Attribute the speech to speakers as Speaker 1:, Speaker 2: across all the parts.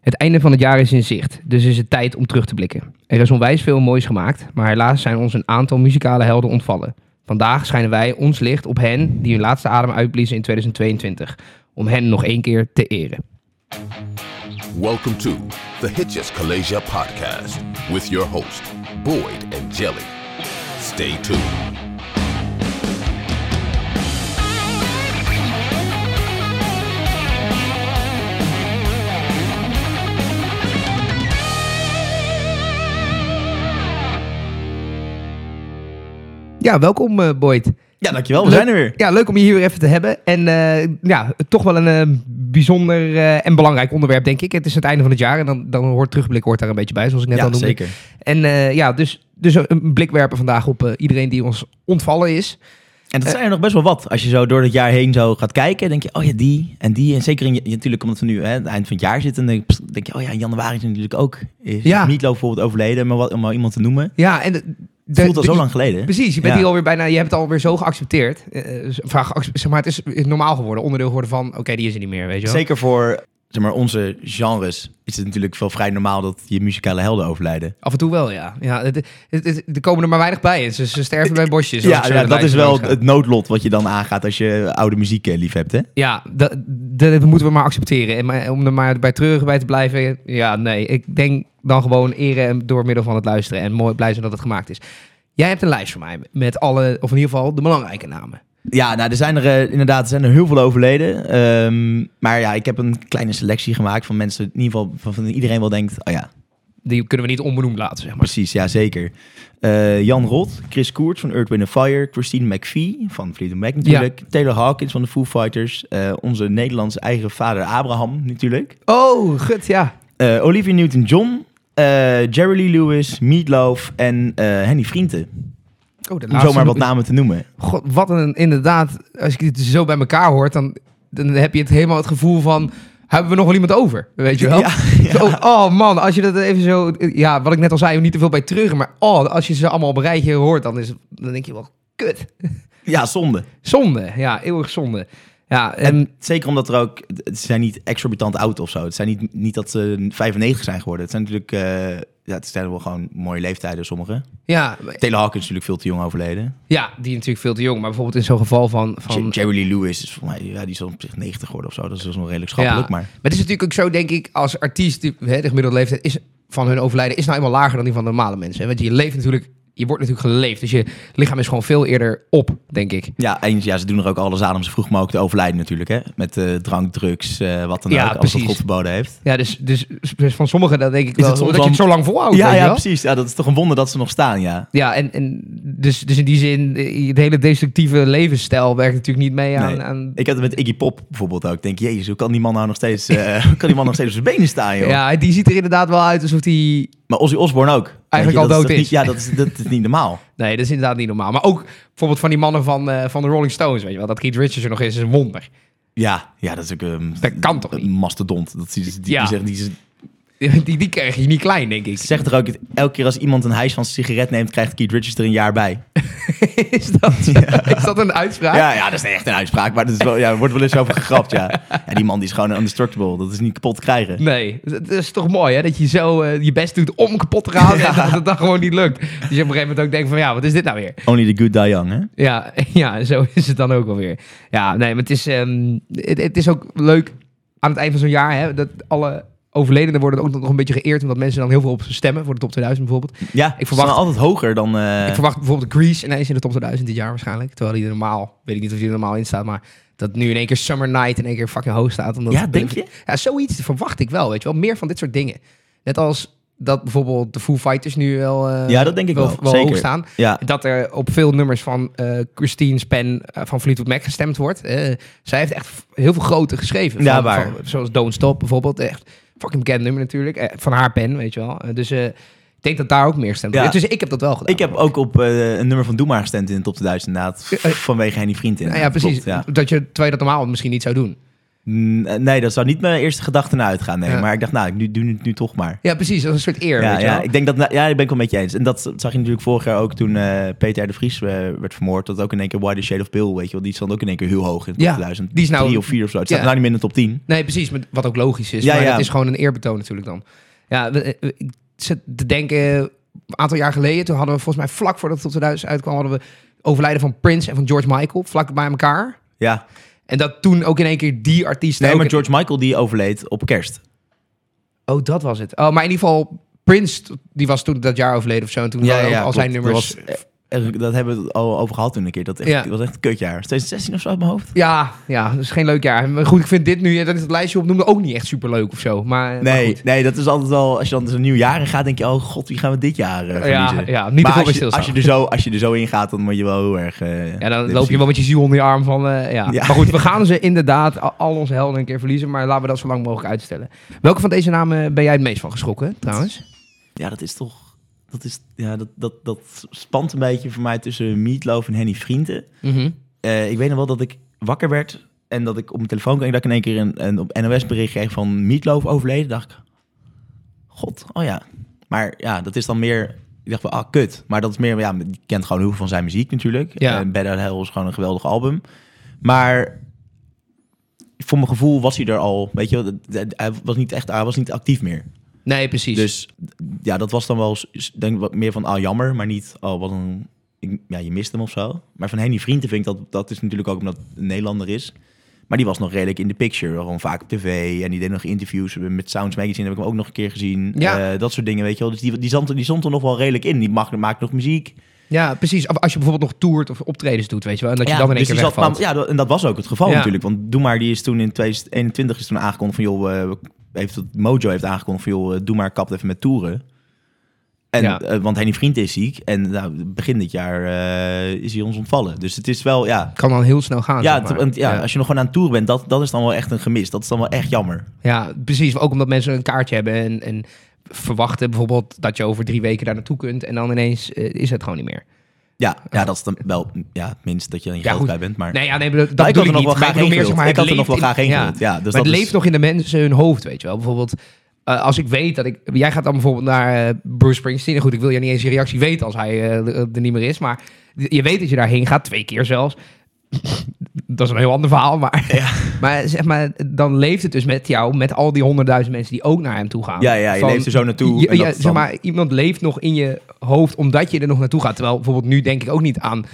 Speaker 1: Het einde van het jaar is in zicht, dus is het tijd om terug te blikken. Er is onwijs veel moois gemaakt, maar helaas zijn ons een aantal muzikale helden ontvallen. Vandaag schijnen wij ons licht op hen die hun laatste adem uitbliezen in 2022, om hen nog één keer te eren.
Speaker 2: Welcome to the Hitches Kalasia podcast with your host, Boyd and Jelly. Stay tuned.
Speaker 1: Ja, welkom eh, Boyd.
Speaker 3: Ja, dankjewel. We
Speaker 1: Leuk-
Speaker 3: zijn er weer.
Speaker 1: Ja, leuk om je hier weer even te hebben. En eh, ja, toch wel een eh, bijzonder eh, en belangrijk onderwerp, denk ik. Het is het einde van het jaar en dan, dan hoort terugblik hoort daar een beetje bij, zoals ik net al
Speaker 3: Ja,
Speaker 1: noemde.
Speaker 3: zeker.
Speaker 1: En eh, ja, dus, dus een- een blik werpen vandaag op eh, iedereen die ons ontvallen is.
Speaker 3: En dat zijn er nog best wel wat. Als je zo door het jaar heen zo gaat kijken, denk je, oh ja, die en die. En zeker in, je- natuurlijk omdat we nu hè, het eind van het jaar zitten, denk je, denk je, oh ja, in januari is natuurlijk ook. Is
Speaker 1: Ja.
Speaker 3: ja. Meatloaf bijvoorbeeld overleden, maar wat, om maar iemand te noemen.
Speaker 1: Ja, en... de-
Speaker 3: Het voelt al
Speaker 1: de-
Speaker 3: zo lang geleden.
Speaker 1: Precies, je bent
Speaker 3: Ja.
Speaker 1: hier alweer bijna, je hebt het alweer zo geaccepteerd. Eh, eh, vraag, zeg maar, het is normaal geworden, onderdeel geworden van, oké, die is er niet meer, weet je wel.
Speaker 3: Zeker voor zeg maar, onze genres is het natuurlijk wel vrij normaal dat je muzikale helden overlijden.
Speaker 1: Af en toe wel, ja. ja het, het, het- er komen er maar weinig bij. Ze, ze sterven bij bosjes. zoals
Speaker 3: ja,
Speaker 1: ik zo
Speaker 3: ja,
Speaker 1: de
Speaker 3: dat is
Speaker 1: lijst
Speaker 3: wel
Speaker 1: langs ga.
Speaker 3: het noodlot wat je dan aangaat als je oude muziek eh, lief hebt, hè?
Speaker 1: Ja, dat, dat moeten we maar accepteren. En maar, om er maar bij treurig bij te blijven. Ja, nee. Ik denk dan gewoon eren door middel van het luisteren. En mooi blij zijn dat het gemaakt is. Jij hebt een lijst voor mij met alle, of in ieder geval de belangrijke namen.
Speaker 3: Ja, nou, er zijn er eh, inderdaad er zijn er heel veel overleden. Ehm, maar ja, ik heb een kleine selectie gemaakt van mensen, in ieder geval van, van iedereen wel denkt, oh ja,
Speaker 1: Die kunnen we niet onbenoemd laten, zeg maar.
Speaker 3: precies, ja zeker. Eh, Jan Rot, Chris Koerts van Earth, Wind and Fire, Christine McVie van Freedom Mac natuurlijk, Taylor Hawkins van de Foo Fighters, eh, onze Nederlandse eigen vader Abraham natuurlijk,
Speaker 1: Oh, gut, ja.
Speaker 3: eh, Olivia Newton-John, eh, Jerry Lee Lewis, Meatloaf en eh Henny Vrienden.
Speaker 1: Oh, de
Speaker 3: Om
Speaker 1: laatste-
Speaker 3: zomaar wat namen te noemen.
Speaker 1: God, wat een inderdaad. Als ik dit dus zo bij elkaar hoort, dan, dan heb je het helemaal het gevoel van. Hebben we nog wel iemand over? Weet je wel?
Speaker 3: Ja,
Speaker 1: Zo, oh man, als je dat even zo. Ja, wat ik net al zei, niet te veel bij terug. Maar oh, als je ze allemaal op een rijtje hoort, dan, is, het- dan denk je wel. Kut.
Speaker 3: Ja, zonde.
Speaker 1: Zonde. Ja, eeuwig zonde. Ja, en
Speaker 3: Zeker omdat er ook, het zijn niet exorbitant oud of zo. Het zijn niet, niet dat ze 95 zijn geworden. Het zijn natuurlijk, eh, ja, het zijn wel gewoon mooie leeftijden sommigen.
Speaker 1: ja,
Speaker 3: Taylor Hawkins is natuurlijk veel te jong overleden.
Speaker 1: ja, die natuurlijk veel te jong. Maar bijvoorbeeld in zo'n geval van. van
Speaker 3: J- Jerry Lee Lewis is voor mij, ja, die is al op zich 90 geworden of zo. Dat is wel redelijk schappelijk, maar...
Speaker 1: het is natuurlijk ook zo, denk ik, als artiest, die, hè, de gemiddelde leeftijd is, van hun overlijden is nou eenmaal lager dan die van normale mensen. hè. Want je leeft natuurlijk, je wordt natuurlijk geleefd. Dus je lichaam is gewoon veel eerder op, denk ik.
Speaker 3: Ja, en ja, ze doen er ook alles aan om zo vroeg mogelijk te overlijden natuurlijk, hè. Met eh, drank, drugs, eh, wat dan
Speaker 1: Ja,
Speaker 3: ook, als dat
Speaker 1: precies.
Speaker 3: God verboden heeft.
Speaker 1: Ja, dus, dus van sommigen dan denk ik
Speaker 3: Is
Speaker 1: wel,
Speaker 3: het soms
Speaker 1: Oh, dat je het
Speaker 3: wel-
Speaker 1: zo lang volhoudt.
Speaker 3: ja,
Speaker 1: weet je
Speaker 3: ja,
Speaker 1: wel?
Speaker 3: precies. Ja, dat is toch een wonder dat ze nog staan, ja.
Speaker 1: Ja, en, en dus, dus in die zin, eh, het hele destructieve levensstijl werkt natuurlijk niet mee aan...
Speaker 3: Nee.
Speaker 1: aan
Speaker 3: Ik had het met Iggy Pop bijvoorbeeld ook. Ik denk, jezus, hoe kan die man nou nog steeds, eh, hoe kan die man nog steeds op zijn benen staan, joh?
Speaker 1: ja, die ziet er inderdaad wel uit alsof die...
Speaker 3: Maar Ozzy Osbourne ook. Weet je,
Speaker 1: al
Speaker 3: dat
Speaker 1: dood
Speaker 3: toch
Speaker 1: is.
Speaker 3: Niet, ja, dat is, dat is niet normaal.
Speaker 1: Nee, dat is inderdaad niet normaal. Maar ook bijvoorbeeld van die mannen van, eh, van de Rolling Stones, weet je wel. Dat Keith Richards er nog is, is een wonder.
Speaker 3: Ja, ja dat is ook een,
Speaker 1: Dat kan toch
Speaker 3: een mastodont. Dat, die, die, die
Speaker 1: Ja.
Speaker 3: zegt, die
Speaker 1: Die, die krijg je niet klein, denk ik.
Speaker 3: zegt er ook, dat elke keer als iemand een hijs van zijn sigaret neemt, krijgt Keith Richards er een jaar bij.
Speaker 1: Is dat, is dat een uitspraak?
Speaker 3: Ja, ja dat is niet echt een uitspraak, maar dat is wel, ja, er wordt wel eens over gegrapt, ja. ja. Die man die is gewoon een indestructible. Dat is niet kapot te krijgen.
Speaker 1: Nee, dat is toch mooi hè? dat je zo eh, je best doet om kapot te gaan en dat het dan gewoon niet lukt. Dus je op een gegeven moment ook denkt van ja, wat is dit nou weer?
Speaker 3: Only the good die young, hè?
Speaker 1: Ja, ja zo is het dan ook wel weer. Ja, nee, maar het is, ehm, het, het is ook leuk aan het eind van zo'n jaar hè, dat alle overledenen worden ook nog een beetje geëerd omdat mensen dan heel veel op ze stemmen voor de top 2000 bijvoorbeeld.
Speaker 3: Ja, ik verwacht
Speaker 1: verwacht-
Speaker 3: altijd hoger dan... eh,
Speaker 1: Ik verwacht bijvoorbeeld Grease ineens in de top 2000 dit jaar waarschijnlijk. Terwijl die er normaal, weet ik niet of die er normaal in staat, maar dat nu in één keer Summer Night in één keer fucking hoog staat. Omdat
Speaker 3: Ja, denk je?
Speaker 1: Ja, zoiets verwacht ik wel, weet je wel. Meer van dit soort dingen. Net als dat bijvoorbeeld de Foo Fighters nu wel, eh,
Speaker 3: ja, dat denk ik wel. zeker.
Speaker 1: hoog staan.
Speaker 3: Ja.
Speaker 1: Dat er op veel nummers van eh Christine's pen eh, van Fleetwood Mac gestemd wordt. Eh, zij heeft echt f- heel veel grote geschreven.
Speaker 3: Ja,
Speaker 1: Van-
Speaker 3: waar.
Speaker 1: van- zoals Don't Stop bijvoorbeeld. Echt fucking bekend nummer natuurlijk. Eh, van haar pen, weet je wel. Eh, dus eh, ik denk dat daar ook meer stemt
Speaker 3: Ja.
Speaker 1: wordt. Dus ik heb dat wel gedaan.
Speaker 3: Ik heb ook op eh, een nummer van Doe maar gestemd in de top 1000 inderdaad. Vanwege Henny Vriend in.
Speaker 1: Eh, Nou ja, precies.
Speaker 3: Klopt, ja.
Speaker 1: Dat je, terwijl je dat normaal misschien niet zou doen.
Speaker 3: Mm, eh, Nee, dat zou niet mijn eerste gedachte naar uitgaan. Nee.
Speaker 1: Ja.
Speaker 3: Maar ik dacht, nou, ik nu, doe het nu toch maar.
Speaker 1: Ja, precies. Dat is een soort eer,
Speaker 3: Ja,
Speaker 1: weet je
Speaker 3: ja,
Speaker 1: wel.
Speaker 3: ik denk dat, nou, ja, daar ben ik wel met je eens. En dat zag je natuurlijk vorig jaar ook toen eh, Peter R. de Vries eh, werd vermoord. Dat ook in één keer Why the Shade of Bill, weet je wel. Die stond ook in één keer heel hoog in de
Speaker 1: Ja,
Speaker 3: top 1000.
Speaker 1: die is nou-
Speaker 3: Drie of vier of zo. Het staat
Speaker 1: Ja.
Speaker 3: nou niet meer in de top 10.
Speaker 1: Nee, precies. maar Wat ook logisch is.
Speaker 3: Ja,
Speaker 1: maar
Speaker 3: ja.
Speaker 1: het is gewoon een eerbetoon natuurlijk dan. Ja, we- eh, ik zit te denken... eh, Een aantal jaar geleden, toen hadden we volgens mij vlak voordat het op 2000 uitkwam... hadden we overlijden van Prince en van George Michael vlak bij elkaar.
Speaker 3: Ja.
Speaker 1: En dat toen ook in één keer die artiest...
Speaker 3: Nee,
Speaker 1: ook
Speaker 3: maar
Speaker 1: in-
Speaker 3: George Michael die overleed op kerst.
Speaker 1: Oh, dat was het. Oh, maar in ieder geval... Prince, die was toen dat jaar overleden of zo. En toen waren ook al
Speaker 3: klopt.
Speaker 1: zijn nummers...
Speaker 3: Dat, was, eh, eh, dat hebben we het al over gehad toen een keer. Dat, echt,
Speaker 1: Ja.
Speaker 3: dat was echt een kutjaar. 2016 of zo uit mijn hoofd.
Speaker 1: Ja, ja, dat is geen leuk jaar. Maar goed, ik vind dit nu, dat is het lijstje opnoemde, ook niet echt super leuk of zo. Maar, maar
Speaker 3: Nee,
Speaker 1: goed.
Speaker 3: nee, dat is altijd wel... Als je dan dus een nieuw jaar in gaat, denk je... Oh god, wie gaan we dit jaar eh,
Speaker 1: ja,
Speaker 3: verliezen?
Speaker 1: ja, niet te veel
Speaker 3: maar
Speaker 1: bij
Speaker 3: als je,
Speaker 1: stilstaan.
Speaker 3: als, je er zo, als je er zo in gaat, dan moet je wel heel erg... eh,
Speaker 1: Ja, dan loop
Speaker 3: depressief
Speaker 1: je wel met je ziel onder je arm van, eh, ja.
Speaker 3: Ja.
Speaker 1: Maar goed, we gaan ze inderdaad, al- al onze helden een keer verliezen, maar laten we dat zo lang mogelijk uitstellen. Welke van deze namen ben jij het meest van geschrokken, trouwens?
Speaker 3: Ja, dat is toch. Dat, is, ja, dat, dat, dat spant een beetje voor mij tussen Meatloaf en Henny Vrienden. Eh, ik weet nog wel dat ik wakker werd en dat ik op mijn telefoon keek. Dat ik in één keer een, een op NOS bericht kreeg van Meatloaf overleden. dacht ik, god, oh ja. Maar ja, dat is dan meer... Ik dacht van, ah, kut. Maar dat is meer... Ja, je kent gewoon heel veel van zijn muziek natuurlijk.
Speaker 1: Ja.
Speaker 3: En Bad Out of Hell is gewoon een geweldig album. Maar voor mijn gevoel was hij er al. Weet je, wel. hij was niet echt... Hij was niet actief meer.
Speaker 1: Nee, precies.
Speaker 3: Dus ja, dat was dan wel s- denk ik wat meer van ah jammer, maar niet oh wat een ik- ja je mist hem of zo. Maar van Henny Vrienden vind ik dat dat is natuurlijk ook omdat het een Nederlander is. Maar die was nog redelijk in de picture, gewoon vaak op tv en die deed nog interviews met Sounds Magazine heb ik hem ook nog een keer gezien.
Speaker 1: Ja.
Speaker 3: Eh, dat soort dingen weet je wel. Dus die die zond, die stond er nog wel redelijk in. Die mag, maakt nog muziek.
Speaker 1: ja, precies. Als je bijvoorbeeld nog toert of optredens doet, weet je wel, en dat je dan in één
Speaker 3: dus
Speaker 1: keer
Speaker 3: die zat-
Speaker 1: wegvalt.
Speaker 3: maar- ja, dat- en dat was ook het geval
Speaker 1: Ja.
Speaker 3: natuurlijk. Want Doe Maar die is toen in 2021 is toen aangekondigd van joh, eh, heeft het, Mojo heeft aangekondigd van joh, eh, Doe Maar kapt even met toeren. En,
Speaker 1: Ja.
Speaker 3: eh, want Henny Vriend is ziek en nou, begin dit jaar eh, is hij ons ontvallen. Dus het is wel, ja.
Speaker 1: kan dan heel snel gaan,
Speaker 3: Ja,
Speaker 1: zeg maar.
Speaker 3: het- want ja,
Speaker 1: ja.
Speaker 3: als je nog gewoon aan het toeren bent, dat, dat is dan wel echt een gemis. Dat is dan wel echt jammer.
Speaker 1: Ja, precies. Ook omdat mensen een kaartje hebben en, en verwachten bijvoorbeeld dat je over drie weken daar naartoe kunt en dan ineens eh, is het gewoon niet meer.
Speaker 3: Ja, ja dat is dan wel ja, het minst dat je er in
Speaker 1: Ja,
Speaker 3: geld
Speaker 1: goed.
Speaker 3: bij bent. Maar
Speaker 1: Nee, ja, nee, dat, dat bedoel
Speaker 3: ik had er
Speaker 1: ik
Speaker 3: nog
Speaker 1: niet.
Speaker 3: wel
Speaker 1: Maar
Speaker 3: graag
Speaker 1: ik bedoel
Speaker 3: heen
Speaker 1: meer, zeg
Speaker 3: gewild.
Speaker 1: maar, het
Speaker 3: Ik had er nog
Speaker 1: leeft
Speaker 3: wel graag
Speaker 1: in-
Speaker 3: heen
Speaker 1: ja.
Speaker 3: gewild. Ja, dus
Speaker 1: maar
Speaker 3: dat
Speaker 1: het
Speaker 3: is-
Speaker 1: leeft nog in de mensen hun hoofd, weet je wel. Bijvoorbeeld, eh, als ik weet dat ik... Jij gaat dan bijvoorbeeld naar eh, Bruce Springsteen. En goed, ik wil je niet eens je reactie weten als hij eh, er niet meer is. Maar je weet dat je daarheen gaat, twee keer zelfs. dat is een heel ander verhaal, maar... maar zeg maar, dan leeft het dus met jou, met al die honderdduizend mensen die ook naar hem toe gaan.
Speaker 3: Ja, ja, je leeft er zo naartoe
Speaker 1: Je,
Speaker 3: en
Speaker 1: ja,
Speaker 3: dat is
Speaker 1: zeg
Speaker 3: dan-
Speaker 1: maar, iemand leeft nog in je hoofd omdat je er nog naartoe gaat. Terwijl bijvoorbeeld nu denk ik ook niet aan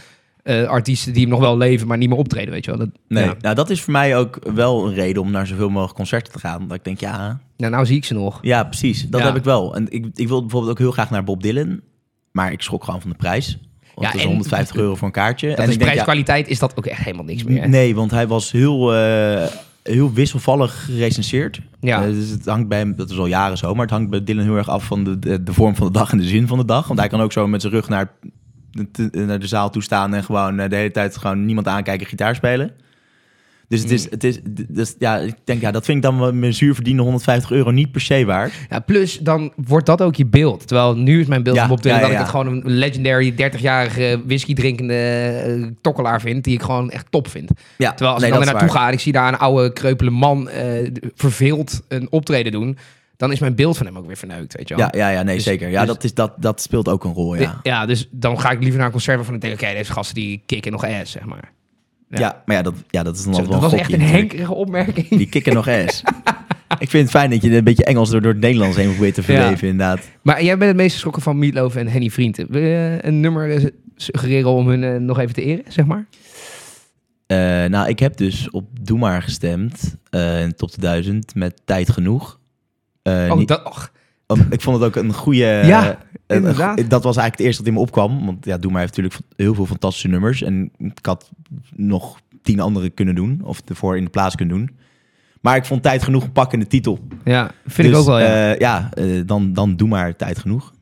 Speaker 1: eh, artiesten die nog wel leven, maar niet meer optreden, weet je wel. Dat,
Speaker 3: nee.
Speaker 1: ja.
Speaker 3: Nou, dat is voor mij ook wel een reden om naar zoveel mogelijk concerten te gaan. Dat ik denk, ja,
Speaker 1: Nou, nou zie ik ze nog.
Speaker 3: Ja, precies. Dat
Speaker 1: Ja.
Speaker 3: heb ik wel. En ik, ik wil bijvoorbeeld ook heel graag naar Bob Dylan. Maar ik schrok gewoon van de prijs.
Speaker 1: Ja,
Speaker 3: Want het is
Speaker 1: en-
Speaker 3: 150 euro voor een kaartje.
Speaker 1: Dat
Speaker 3: en
Speaker 1: is
Speaker 3: ik denk, ja,
Speaker 1: prijskwaliteit, is dat ook echt helemaal niks meer. hè?
Speaker 3: nee, want hij was heel, eh, heel wisselvallig gerecenseerd.
Speaker 1: Ja.
Speaker 3: Eh, dus het hangt bij hem, dat is al jaren zo, maar het hangt bij Dylan heel erg af van de, de, de vorm van de dag en de zin van de dag. Want hij kan ook zo met zijn rug naar, de- te- naar de zaal toe staan en gewoon eh, de hele tijd gewoon niemand aankijken, gitaar spelen. Dus het
Speaker 1: Mm.
Speaker 3: is, het is, dus, ja, ik denk, ja, dat vind ik dan wel mijn zuur verdiende 150 euro niet per se waard.
Speaker 1: Ja, plus, dan wordt dat ook je beeld. Terwijl nu is mijn beeld
Speaker 3: Ja,
Speaker 1: van Bob Dylan
Speaker 3: ja, ja,
Speaker 1: dat ik
Speaker 3: ja.
Speaker 1: het gewoon een legendary 30-jarige whisky drinkende tokkelaar vind. Die ik gewoon echt top vind.
Speaker 3: Ja,
Speaker 1: Terwijl als
Speaker 3: nee,
Speaker 1: ik dan er
Speaker 3: dat is
Speaker 1: naartoe
Speaker 3: waar.
Speaker 1: ga en ik zie daar een oude kreupele man eh, d- verveeld een optreden doen. Dan is mijn beeld van hem ook weer verneukt, weet je wel.
Speaker 3: Ja, ja, ja nee,
Speaker 1: Dus-
Speaker 3: zeker. Ja,
Speaker 1: dus-
Speaker 3: dat, is, dat, dat speelt ook een rol, ja.
Speaker 1: Ja.
Speaker 3: ja.
Speaker 1: dus dan ga ik liever naar een concert waarvan ik denk, oké, deze gasten die kicken nog ass, zeg maar. Ja.
Speaker 3: maar ja, dat, ja, dat is dan
Speaker 1: Zo,
Speaker 3: altijd wel
Speaker 1: dat was
Speaker 3: gokje
Speaker 1: echt een
Speaker 3: natuurlijk.
Speaker 1: henkerige opmerking.
Speaker 3: Die kikken nog ass. Ik vind het fijn dat je een beetje Engels door, door het Nederlands heen probeert te verleven, inderdaad.
Speaker 1: Maar jij bent het meest geschrokken van Meatloaf en Henny Vrienden. Wil je een nummer eh, suggereren om hun eh, nog even te eren, zeg maar?
Speaker 3: Eh, nou, ik heb dus op Doe Maar gestemd, eh, in de top 1000, met Tijd Genoeg. Eh,
Speaker 1: oh,
Speaker 3: niet-
Speaker 1: dat... och.
Speaker 3: om- ik vond het ook een goede...
Speaker 1: Ja,
Speaker 3: eh, een- een
Speaker 1: inderdaad.
Speaker 3: go- dat was eigenlijk het eerste dat in me opkwam. Want ja, Doe Maar heeft natuurlijk heel veel fantastische nummers. En ik had nog tien andere kunnen doen, of ervoor in de plaats kunnen doen. Maar ik vond Tijd Genoeg een pakkende titel.
Speaker 1: Ja, vind ik
Speaker 3: Dus,
Speaker 1: ook wel, ja.
Speaker 3: eh, ja, eh, dan, dan doe maar tijd genoeg.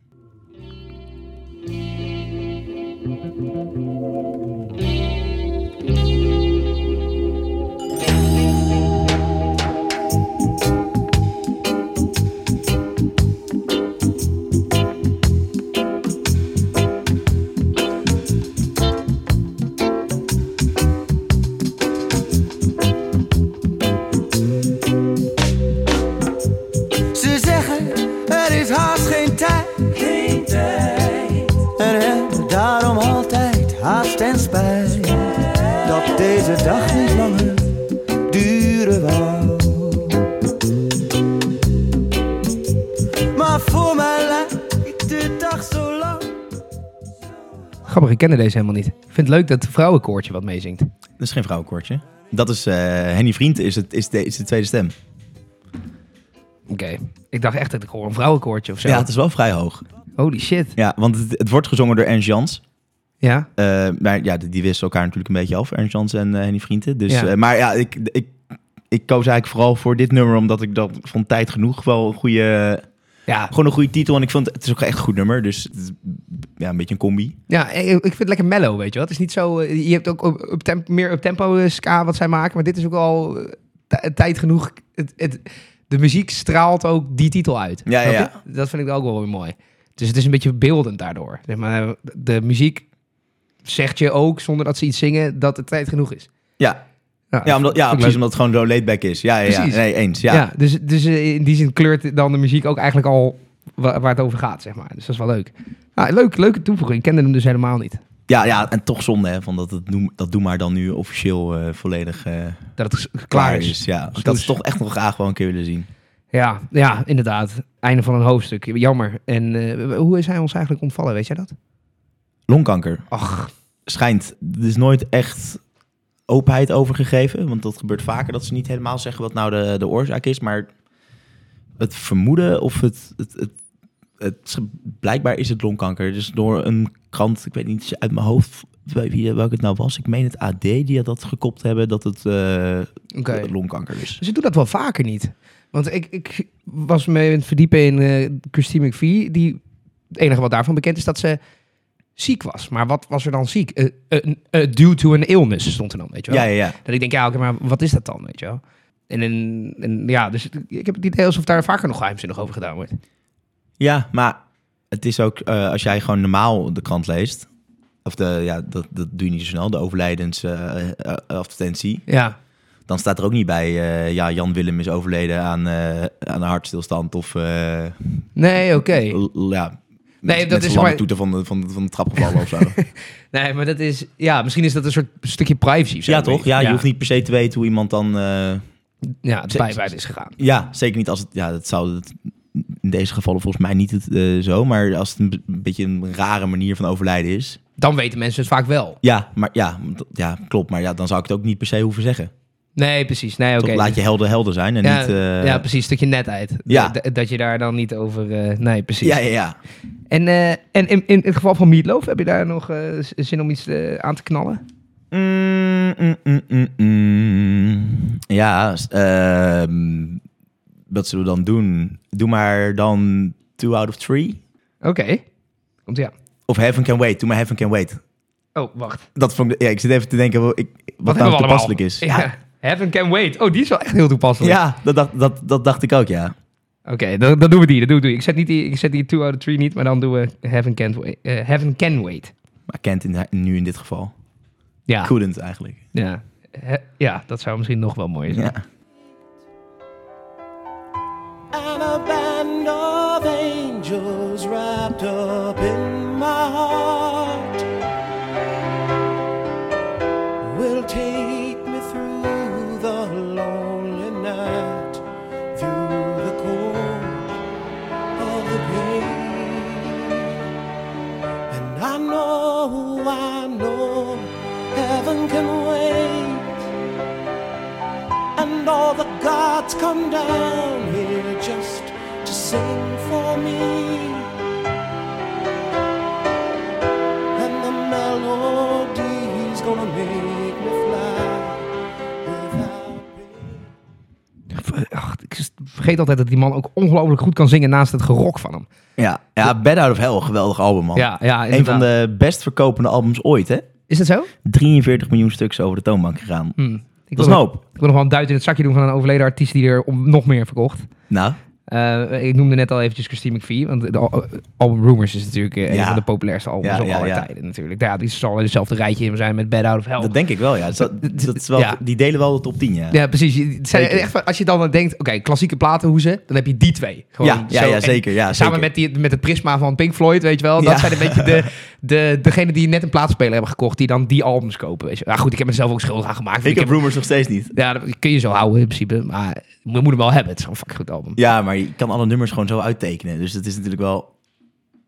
Speaker 4: deze dag niet langer duren wou. Maar voor mij lijkt de dag zo lang.
Speaker 1: Grappig, ik kende deze helemaal niet. Ik vind het leuk dat het vrouwenkoortje wat meezingt.
Speaker 3: Dat is geen vrouwenkoortje. Dat is eh, Henny Vriend, is, het, is, de, is de tweede stem.
Speaker 1: Oké. Ik dacht echt dat ik hoor een vrouwenkoortje of zo.
Speaker 3: Ja, het is wel vrij hoog.
Speaker 1: Holy shit.
Speaker 3: Ja, want het, het wordt gezongen door Ernst Jans.
Speaker 1: Ja?
Speaker 3: Eh, maar ja, die, die wisten elkaar natuurlijk een beetje af, Ernst Jans en eh, Henny Vrienden. Dus,
Speaker 1: Ja.
Speaker 3: eh, maar ja, ik, ik, ik koos eigenlijk vooral voor dit nummer, omdat ik dat vond tijd genoeg wel een goede,
Speaker 1: Ja.
Speaker 3: gewoon een goede titel. En ik vond het, het is ook echt een goed nummer, dus het is, ja, een beetje een combi.
Speaker 1: Ja, ik ik vind het lekker mellow, weet je wel. Het is niet zo... eh, Je hebt ook op, op temp- meer up-tempo eh, ska wat zij maken, maar dit is ook al eh, tij- tijd genoeg. Het, het, de muziek straalt ook die titel uit.
Speaker 3: Ja,
Speaker 1: Snap
Speaker 3: ja,
Speaker 1: je? Dat vind ik ook wel weer mooi. Dus het is een beetje beeldend daardoor. Zeg maar, eh, de muziek zegt je ook, zonder dat ze iets zingen, dat het tijd genoeg is.
Speaker 3: Ja,
Speaker 1: Nou,
Speaker 3: ja, omdat, ja
Speaker 1: vind ik
Speaker 3: precies,
Speaker 1: leuk.
Speaker 3: omdat het gewoon zo laid back is. Ja, ja, ja.
Speaker 1: Precies.
Speaker 3: nee, eens. Ja.
Speaker 1: Ja, dus, dus eh, in die zin kleurt dan de muziek ook eigenlijk al wa- waar het over gaat, zeg maar. Dus dat is wel leuk. Ah, leuk leuke toevoeging. Ik kende hem dus helemaal niet.
Speaker 3: Ja, ja, en toch zonde hè, van dat, het noem, dat Doe Maar dan nu officieel eh, volledig eh,
Speaker 1: Dat het s- klaar is.
Speaker 3: Ja,
Speaker 1: Dus
Speaker 3: dat is
Speaker 1: dus-
Speaker 3: toch echt nog graag wel een keer willen zien.
Speaker 1: Ja, ja, inderdaad. Einde van een hoofdstuk. Jammer. En eh, hoe is hij ons eigenlijk ontvallen, weet jij dat?
Speaker 3: Longkanker
Speaker 1: Ach,
Speaker 3: schijnt, er is nooit echt openheid over gegeven, want dat gebeurt vaker dat ze niet helemaal zeggen wat nou de, de oorzaak is, maar het vermoeden of het, het, het, het- blijkbaar is het longkanker. Dus door een krant, ik weet niet uit mijn hoofd wie- welke het nou was, ik meen het AD die dat gekopt hebben dat het eh,
Speaker 1: Oké.
Speaker 3: longkanker is.
Speaker 1: ze doen dat wel vaker niet. Want ik, ik was me aan het verdiepen in eh Christine McVie. Die, het enige wat daarvan bekend is dat ze ziek was. Maar wat was er dan ziek? Eh, een- eh, due to an illness stond er dan, weet je wel.
Speaker 3: Ja, ja, ja.
Speaker 1: Dat ik denk, ja, oké, maar wat is dat dan, weet je wel? En, en, en ja, dus ik heb het idee alsof daar vaker nog geheimzinnig over gedaan wordt.
Speaker 3: Ja, maar het is ook eh, als jij gewoon normaal de krant leest. Of de, ja, dat, dat doe je niet zo snel, de eh, overlijdensadvertentie.
Speaker 1: Ja,
Speaker 3: dan staat er ook niet bij, eh, ja, Jan Willem is overleden aan, eh, aan een hartstilstand. Of eh,
Speaker 1: nee, oké.
Speaker 3: l- l- ja,
Speaker 1: Nee, dat is
Speaker 3: een
Speaker 1: maar-
Speaker 3: toeter van de, van, de, van de trap gevallen of zo.
Speaker 1: Nee, maar dat is, ja, misschien is dat een soort stukje privacy. of zo.
Speaker 3: ja, toch? Ja, je hoeft niet per se te weten hoe iemand dan... eh,
Speaker 1: Ja, de pijp uit is gegaan.
Speaker 3: ja, zeker niet als het... Ja, dat zou het in deze gevallen volgens mij niet het, eh, zo. Maar als het een, be- een beetje een rare manier van overlijden is...
Speaker 1: Dan weten mensen het vaak wel.
Speaker 3: Ja, maar ja, d- ja, klopt. Maar ja, dan zou ik het ook niet per se hoeven zeggen.
Speaker 1: Nee, precies. Nee,
Speaker 3: Toch
Speaker 1: oké.
Speaker 3: laat je helder helder zijn en
Speaker 1: ja,
Speaker 3: niet... eh,
Speaker 1: ja, precies. Stukje netheid.
Speaker 3: Ja.
Speaker 1: Dat, dat je daar dan niet over... eh, nee, precies.
Speaker 3: ja, ja, ja.
Speaker 1: En, eh, en in, in het geval van Meatloaf, heb je daar nog eh, z- zin om iets eh, aan te knallen?
Speaker 3: Mm, mm, mm, mm, mm. Ja, s- ehm, wat zullen we dan doen? Doe maar dan two out of three.
Speaker 1: Oké. Komt ja.
Speaker 3: Of Heaven Can Wait. Doe maar Heaven Can Wait.
Speaker 1: Oh, wacht. Wat,
Speaker 3: Dat vond ik, ja, ik zit even te denken wat, ik, wat,
Speaker 1: hebben
Speaker 3: nou
Speaker 1: we allemaal?
Speaker 3: toepasselijk is.
Speaker 1: Ja.
Speaker 3: Ja,
Speaker 1: Heaven can wait. Oh, die is wel echt heel toepasselijk.
Speaker 3: ja dat, dacht, dat, dat dacht ik ook, ja.
Speaker 1: Oké, dan, dan doen we die. Dan doen we die. Ik zet niet die. Ik zet die 2 out of 3 niet, maar dan doen we Heaven can, wait, eh, heaven can wait.
Speaker 3: Maar kent in, nu in dit geval.
Speaker 1: Ja.
Speaker 3: Couldn't eigenlijk.
Speaker 1: Ja. He- ja, dat zou misschien nog wel mooi zijn.
Speaker 3: Ja.
Speaker 4: and a band of angels wrapped up in my heart will take me through the lonely night, through the cold of the day. And I know, I know, heaven can wait and all the gods come down here just to sing for me. And the melody's gonna make me fly without pain.
Speaker 1: Ach, ik vergeet altijd dat die man ook ongelooflijk goed kan zingen naast het gerok van hem.
Speaker 3: Ja, ja Bad Out of Hell, geweldig album, man.
Speaker 1: Ja, ja
Speaker 3: een van de best verkopende albums ooit, hè?
Speaker 1: Is dat zo?
Speaker 3: 43 miljoen stuks over de toonbank gegaan.
Speaker 1: Ik wil
Speaker 3: Dat is een
Speaker 1: nog,
Speaker 3: hoop.
Speaker 1: ik wil nog wel een duit in het zakje doen van een overleden artiest die er om, nog meer verkocht.
Speaker 3: Nou,
Speaker 1: Eh, ik noemde net al eventjes Christine McVie, want de al- eh, album Rumors is natuurlijk eh, een
Speaker 3: Ja.
Speaker 1: van de populairste albums
Speaker 3: Ja,
Speaker 1: van
Speaker 3: ja,
Speaker 1: alle
Speaker 3: ja.
Speaker 1: tijden natuurlijk. Ja, die zal in hetzelfde rijtje zijn met Bad Out of Hell.
Speaker 3: Dat denk ik wel, ja. Dat, dat is wel,
Speaker 1: Ja.
Speaker 3: Die delen wel de top 10, ja.
Speaker 1: ja, precies. Je- het zijn
Speaker 3: Zeker.
Speaker 1: echt van- als je dan denkt, oké, klassieke platenhoezen, dan heb je die twee. Gewoon
Speaker 3: Ja, ja,
Speaker 1: zo.
Speaker 3: ja,
Speaker 1: En
Speaker 3: zeker, ja,
Speaker 1: samen
Speaker 3: zeker.
Speaker 1: Met, die, met het prisma van Pink Floyd, weet je wel. Dat
Speaker 3: Ja.
Speaker 1: zijn een beetje de, de, degenen die net een plaatspeler hebben gekocht, die dan die albums kopen. Weet je. Nou goed, ik heb mezelf ook schuldig aan gemaakt. want
Speaker 3: Ik heb Rumors nog steeds niet.
Speaker 1: Ja, dat kun je zo houden in principe. Maar je moet hem wel hebben. Het is gewoon een fucking goed album.
Speaker 3: Ja, maar je kan alle nummers gewoon zo uittekenen. Dus het is natuurlijk wel...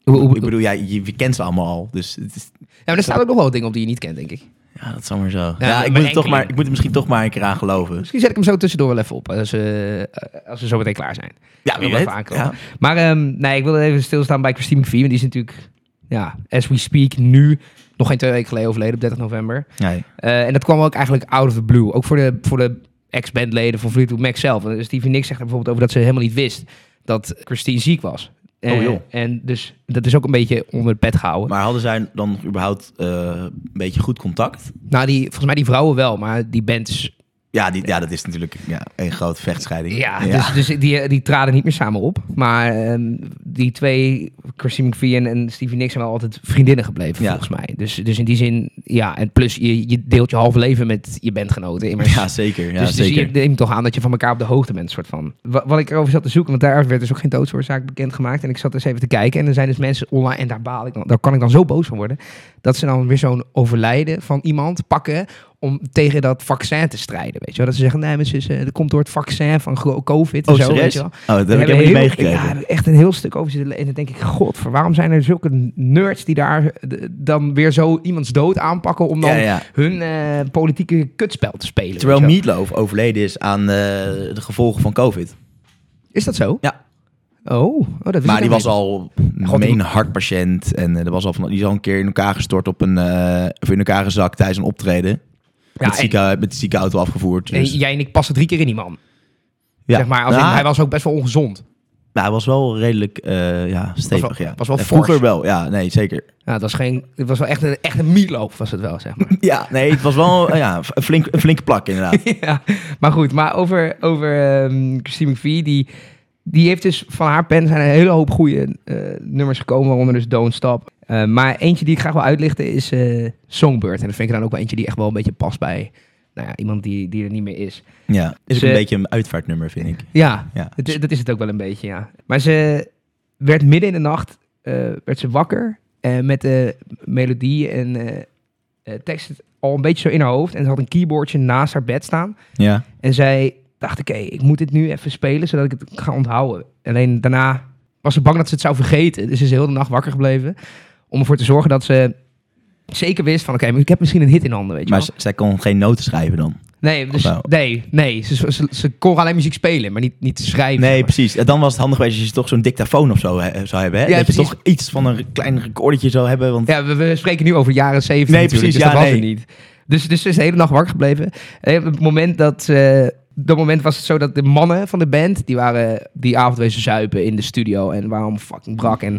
Speaker 1: Hoe- hoe-
Speaker 3: Ik bedoel, ja, je, je kent ze allemaal al. Dus het is,
Speaker 1: ja, maar er staan ook nog wel dingen op die je niet kent, denk ik.
Speaker 3: ja, dat is allemaal zo. Ja,
Speaker 1: maar
Speaker 3: ik, moet het toch
Speaker 1: enkeling.
Speaker 3: maar, ik moet er misschien toch maar een keer aan geloven.
Speaker 1: Misschien zet ik hem zo tussendoor wel even op. Als, eh, eh, als we zo meteen klaar zijn.
Speaker 3: Ja, wie
Speaker 1: Wil
Speaker 3: weet.
Speaker 1: even aankomen.
Speaker 3: Ja.
Speaker 1: Maar ehm, nee, ik wilde even stilstaan bij Christine McVie. Want die is natuurlijk, ja, as we speak, nu nog geen twee weken geleden overleden op 30 november.
Speaker 3: Nee.
Speaker 1: Eh, en dat kwam ook eigenlijk out of the blue. Ook voor de, voor de ex-bandleden van Fleetwood Mac zelf. Want Stevie Nicks zegt er bijvoorbeeld over dat ze helemaal niet wist dat Christine ziek was. En,
Speaker 3: Oh, joh.
Speaker 1: en dus dat is ook een beetje onder het bed gehouden.
Speaker 3: Maar hadden zij dan überhaupt eh, een beetje goed contact?
Speaker 1: Nou, die, volgens mij die vrouwen wel, maar die band is...
Speaker 3: Ja, die, ja dat is natuurlijk ja, een grote vechtscheiding.
Speaker 1: Ja, dus, dus die, die traden niet meer samen op. Maar ehm, die twee, Christine McVie en, en Stevie Nicks, zijn wel altijd vriendinnen gebleven,
Speaker 3: Ja.
Speaker 1: volgens mij. Dus, dus in die zin, ja. En plus, je, je deelt je halve leven met je bandgenoten. Immers.
Speaker 3: Ja, zeker. Ja,
Speaker 1: dus, dus
Speaker 3: zeker.
Speaker 1: je neemt toch aan dat je van elkaar op de hoogte bent, soort van. Wa- Wat ik erover zat te zoeken, want daar werd dus ook geen doodsoorzaak bekendgemaakt. En ik zat eens even te kijken. En er zijn dus mensen online, en daar baal ik dan, daar kan ik dan zo boos van worden. Dat ze dan weer zo'n overlijden van iemand pakken om tegen dat vaccin te strijden, weet je wel. Dat ze zeggen, nee, mensen, is, eh, dat komt door het vaccin van gro- COVID en
Speaker 3: Oh,
Speaker 1: zo, weet
Speaker 3: serieus?
Speaker 1: je
Speaker 3: Oh,
Speaker 1: wel.
Speaker 3: dat heb ik
Speaker 1: Daar
Speaker 3: helemaal
Speaker 1: hebben
Speaker 3: niet
Speaker 1: heel-
Speaker 3: meegekregen.
Speaker 1: Ja, echt een heel stuk over zitten lezen. En dan denk ik, god, waarom zijn er zulke nerds die daar eh, d- dan weer zo iemands dood aanpakken om dan
Speaker 3: Ja, ja.
Speaker 1: hun eh, politieke kutspel te spelen?
Speaker 3: Terwijl
Speaker 1: weet je wel?
Speaker 3: Meatloaf overleden is aan eh, de gevolgen van COVID.
Speaker 1: Is dat zo?
Speaker 3: Ja.
Speaker 1: Oh, oh dat wist
Speaker 3: Maar
Speaker 1: ik
Speaker 3: die was
Speaker 1: helemaal
Speaker 3: al gemeen hartpatiënt. En eh, er was al van, die is al een keer in elkaar gestort op een... eh, of in elkaar gezakt tijdens een optreden.
Speaker 1: niet.
Speaker 3: met,
Speaker 1: Ja, en-
Speaker 3: zieke, met de ziekenauto afgevoerd.
Speaker 1: en
Speaker 3: Dus,
Speaker 1: jij en ik passen drie keer in die man.
Speaker 3: ja.
Speaker 1: Zeg maar, als in,
Speaker 3: Nou,
Speaker 1: hij was ook best wel ongezond.
Speaker 3: nou, hij was wel redelijk eh, ja, stevig.
Speaker 1: Was wel-
Speaker 3: ja.
Speaker 1: was wel
Speaker 3: En
Speaker 1: fors.
Speaker 3: Vroeger wel, ja. Nee, zeker.
Speaker 1: Ja, dat was geen, het was wel echt een, echt een meatloaf, was het wel, zeg maar.
Speaker 3: Ja, nee, het was wel eh, ja, een, flink, een flinke plak inderdaad.
Speaker 1: ja, maar goed, maar over, over ehm, Christine McVie, die, die heeft dus van haar pen zijn een hele hoop goede eh, nummers gekomen, waaronder dus Don't Stop. Eh, maar eentje die ik graag wil uitlichten is eh, Songbird. En dat vind ik dan ook wel eentje die echt wel een beetje past bij nou ja, iemand die, die er niet meer is.
Speaker 3: Ja, is ook
Speaker 1: Ze-
Speaker 3: een beetje een uitvaartnummer, vind ik.
Speaker 1: Ja,
Speaker 3: Ja.
Speaker 1: het- dat is het ook wel een beetje, ja. Maar ze werd midden in de nacht eh, werd ze wakker eh, met de melodie en eh, eh, tekst al een beetje zo in haar hoofd. En ze had een keyboardje naast haar bed staan.
Speaker 3: Ja.
Speaker 1: En zij dacht, oké, ik moet dit nu even spelen, zodat ik het ga onthouden. Alleen daarna was ze bang dat ze het zou vergeten. Dus ze is heel de nacht wakker gebleven. Om ervoor te zorgen dat ze zeker wist van, oké, maar ik heb misschien een hit in handen, weet je
Speaker 3: Maar
Speaker 1: wel.
Speaker 3: z- zij kon geen noten schrijven dan.
Speaker 1: Nee, dus,
Speaker 3: nou.
Speaker 1: nee, nee. Ze, ze, ze kon alleen muziek spelen, maar niet, niet schrijven. zeg
Speaker 3: Nee,
Speaker 1: maar.
Speaker 3: precies. En dan was het handig geweest als je toch zo'n dictafoon of zo eh, zou hebben. Hè?
Speaker 1: Ja,
Speaker 3: dat je
Speaker 1: precies.
Speaker 3: toch iets van een klein recordetje zou hebben. Want
Speaker 1: Ja, we, we spreken nu over jaren 70
Speaker 3: Nee,
Speaker 1: natuurlijk,
Speaker 3: precies,
Speaker 1: dus
Speaker 3: ja,
Speaker 1: dat was
Speaker 3: nee.
Speaker 1: er niet. Dus, dus ze is de hele nacht wakker gebleven. En op het moment dat... eh, op dat moment was het zo dat de mannen van de band... die waren die avond wezen zuipen in de studio... en waren allemaal fucking brak. En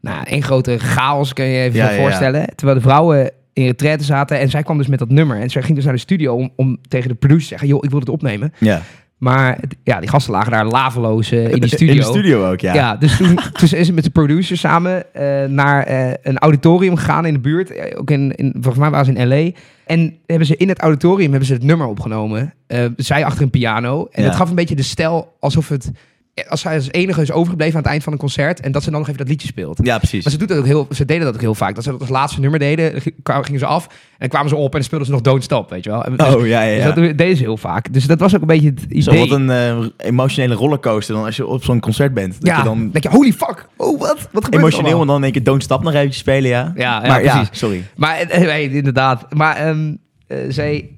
Speaker 1: nou, één grote chaos, kun je je even
Speaker 3: Ja,
Speaker 1: zo
Speaker 3: ja,
Speaker 1: voorstellen. Terwijl de vrouwen in retraite zaten... en zij kwam dus met dat nummer. En zij ging dus naar de studio om, om tegen de producer te zeggen... joh, ik wil het opnemen.
Speaker 3: ja.
Speaker 1: Maar het- ja, die gasten lagen daar laveloos eh, in die studio.
Speaker 3: In de studio ook, ja.
Speaker 1: Ja, dus toen, toen is ze met de producer samen eh, naar eh, een auditorium gegaan in de buurt. Eh, Ook in, in, volgens mij waren ze in L.A. En hebben ze in het auditorium hebben ze het nummer opgenomen. Eh, zij achter een piano. En
Speaker 3: Ja.
Speaker 1: dat gaf een beetje de stijl alsof het... eh, Als zij als enige is overgebleven aan het eind van een concert... en dat ze dan nog even dat liedje speelt.
Speaker 3: Ja, precies.
Speaker 1: Maar ze, doet dat ook heel, ze deden dat ook heel vaak. Dat ze dat als laatste nummer deden, g- kwamen- gingen ze af... en dan kwamen ze op en dan speelden ze nog Don't Stop, weet je wel. En- dus-
Speaker 3: Oh, ja, ja,
Speaker 1: dus
Speaker 3: ja.
Speaker 1: dat deden ze heel vaak. Dus dat was ook een beetje het idee.
Speaker 3: Zo wat een eh, emotionele rollercoaster dan als je op zo'n concert bent. Dat
Speaker 1: ja,
Speaker 3: je dan
Speaker 1: denk je, holy fuck, oh wat, wat gebeurt er
Speaker 3: emotioneel
Speaker 1: allemaal?
Speaker 3: en dan in één keer Don't Stop nog eventjes spelen, ja.
Speaker 1: Ja, ja,
Speaker 3: maar, ja
Speaker 1: precies.
Speaker 3: sorry.
Speaker 1: Maar eh, eh, nee, inderdaad. Maar ehm, eh, zij,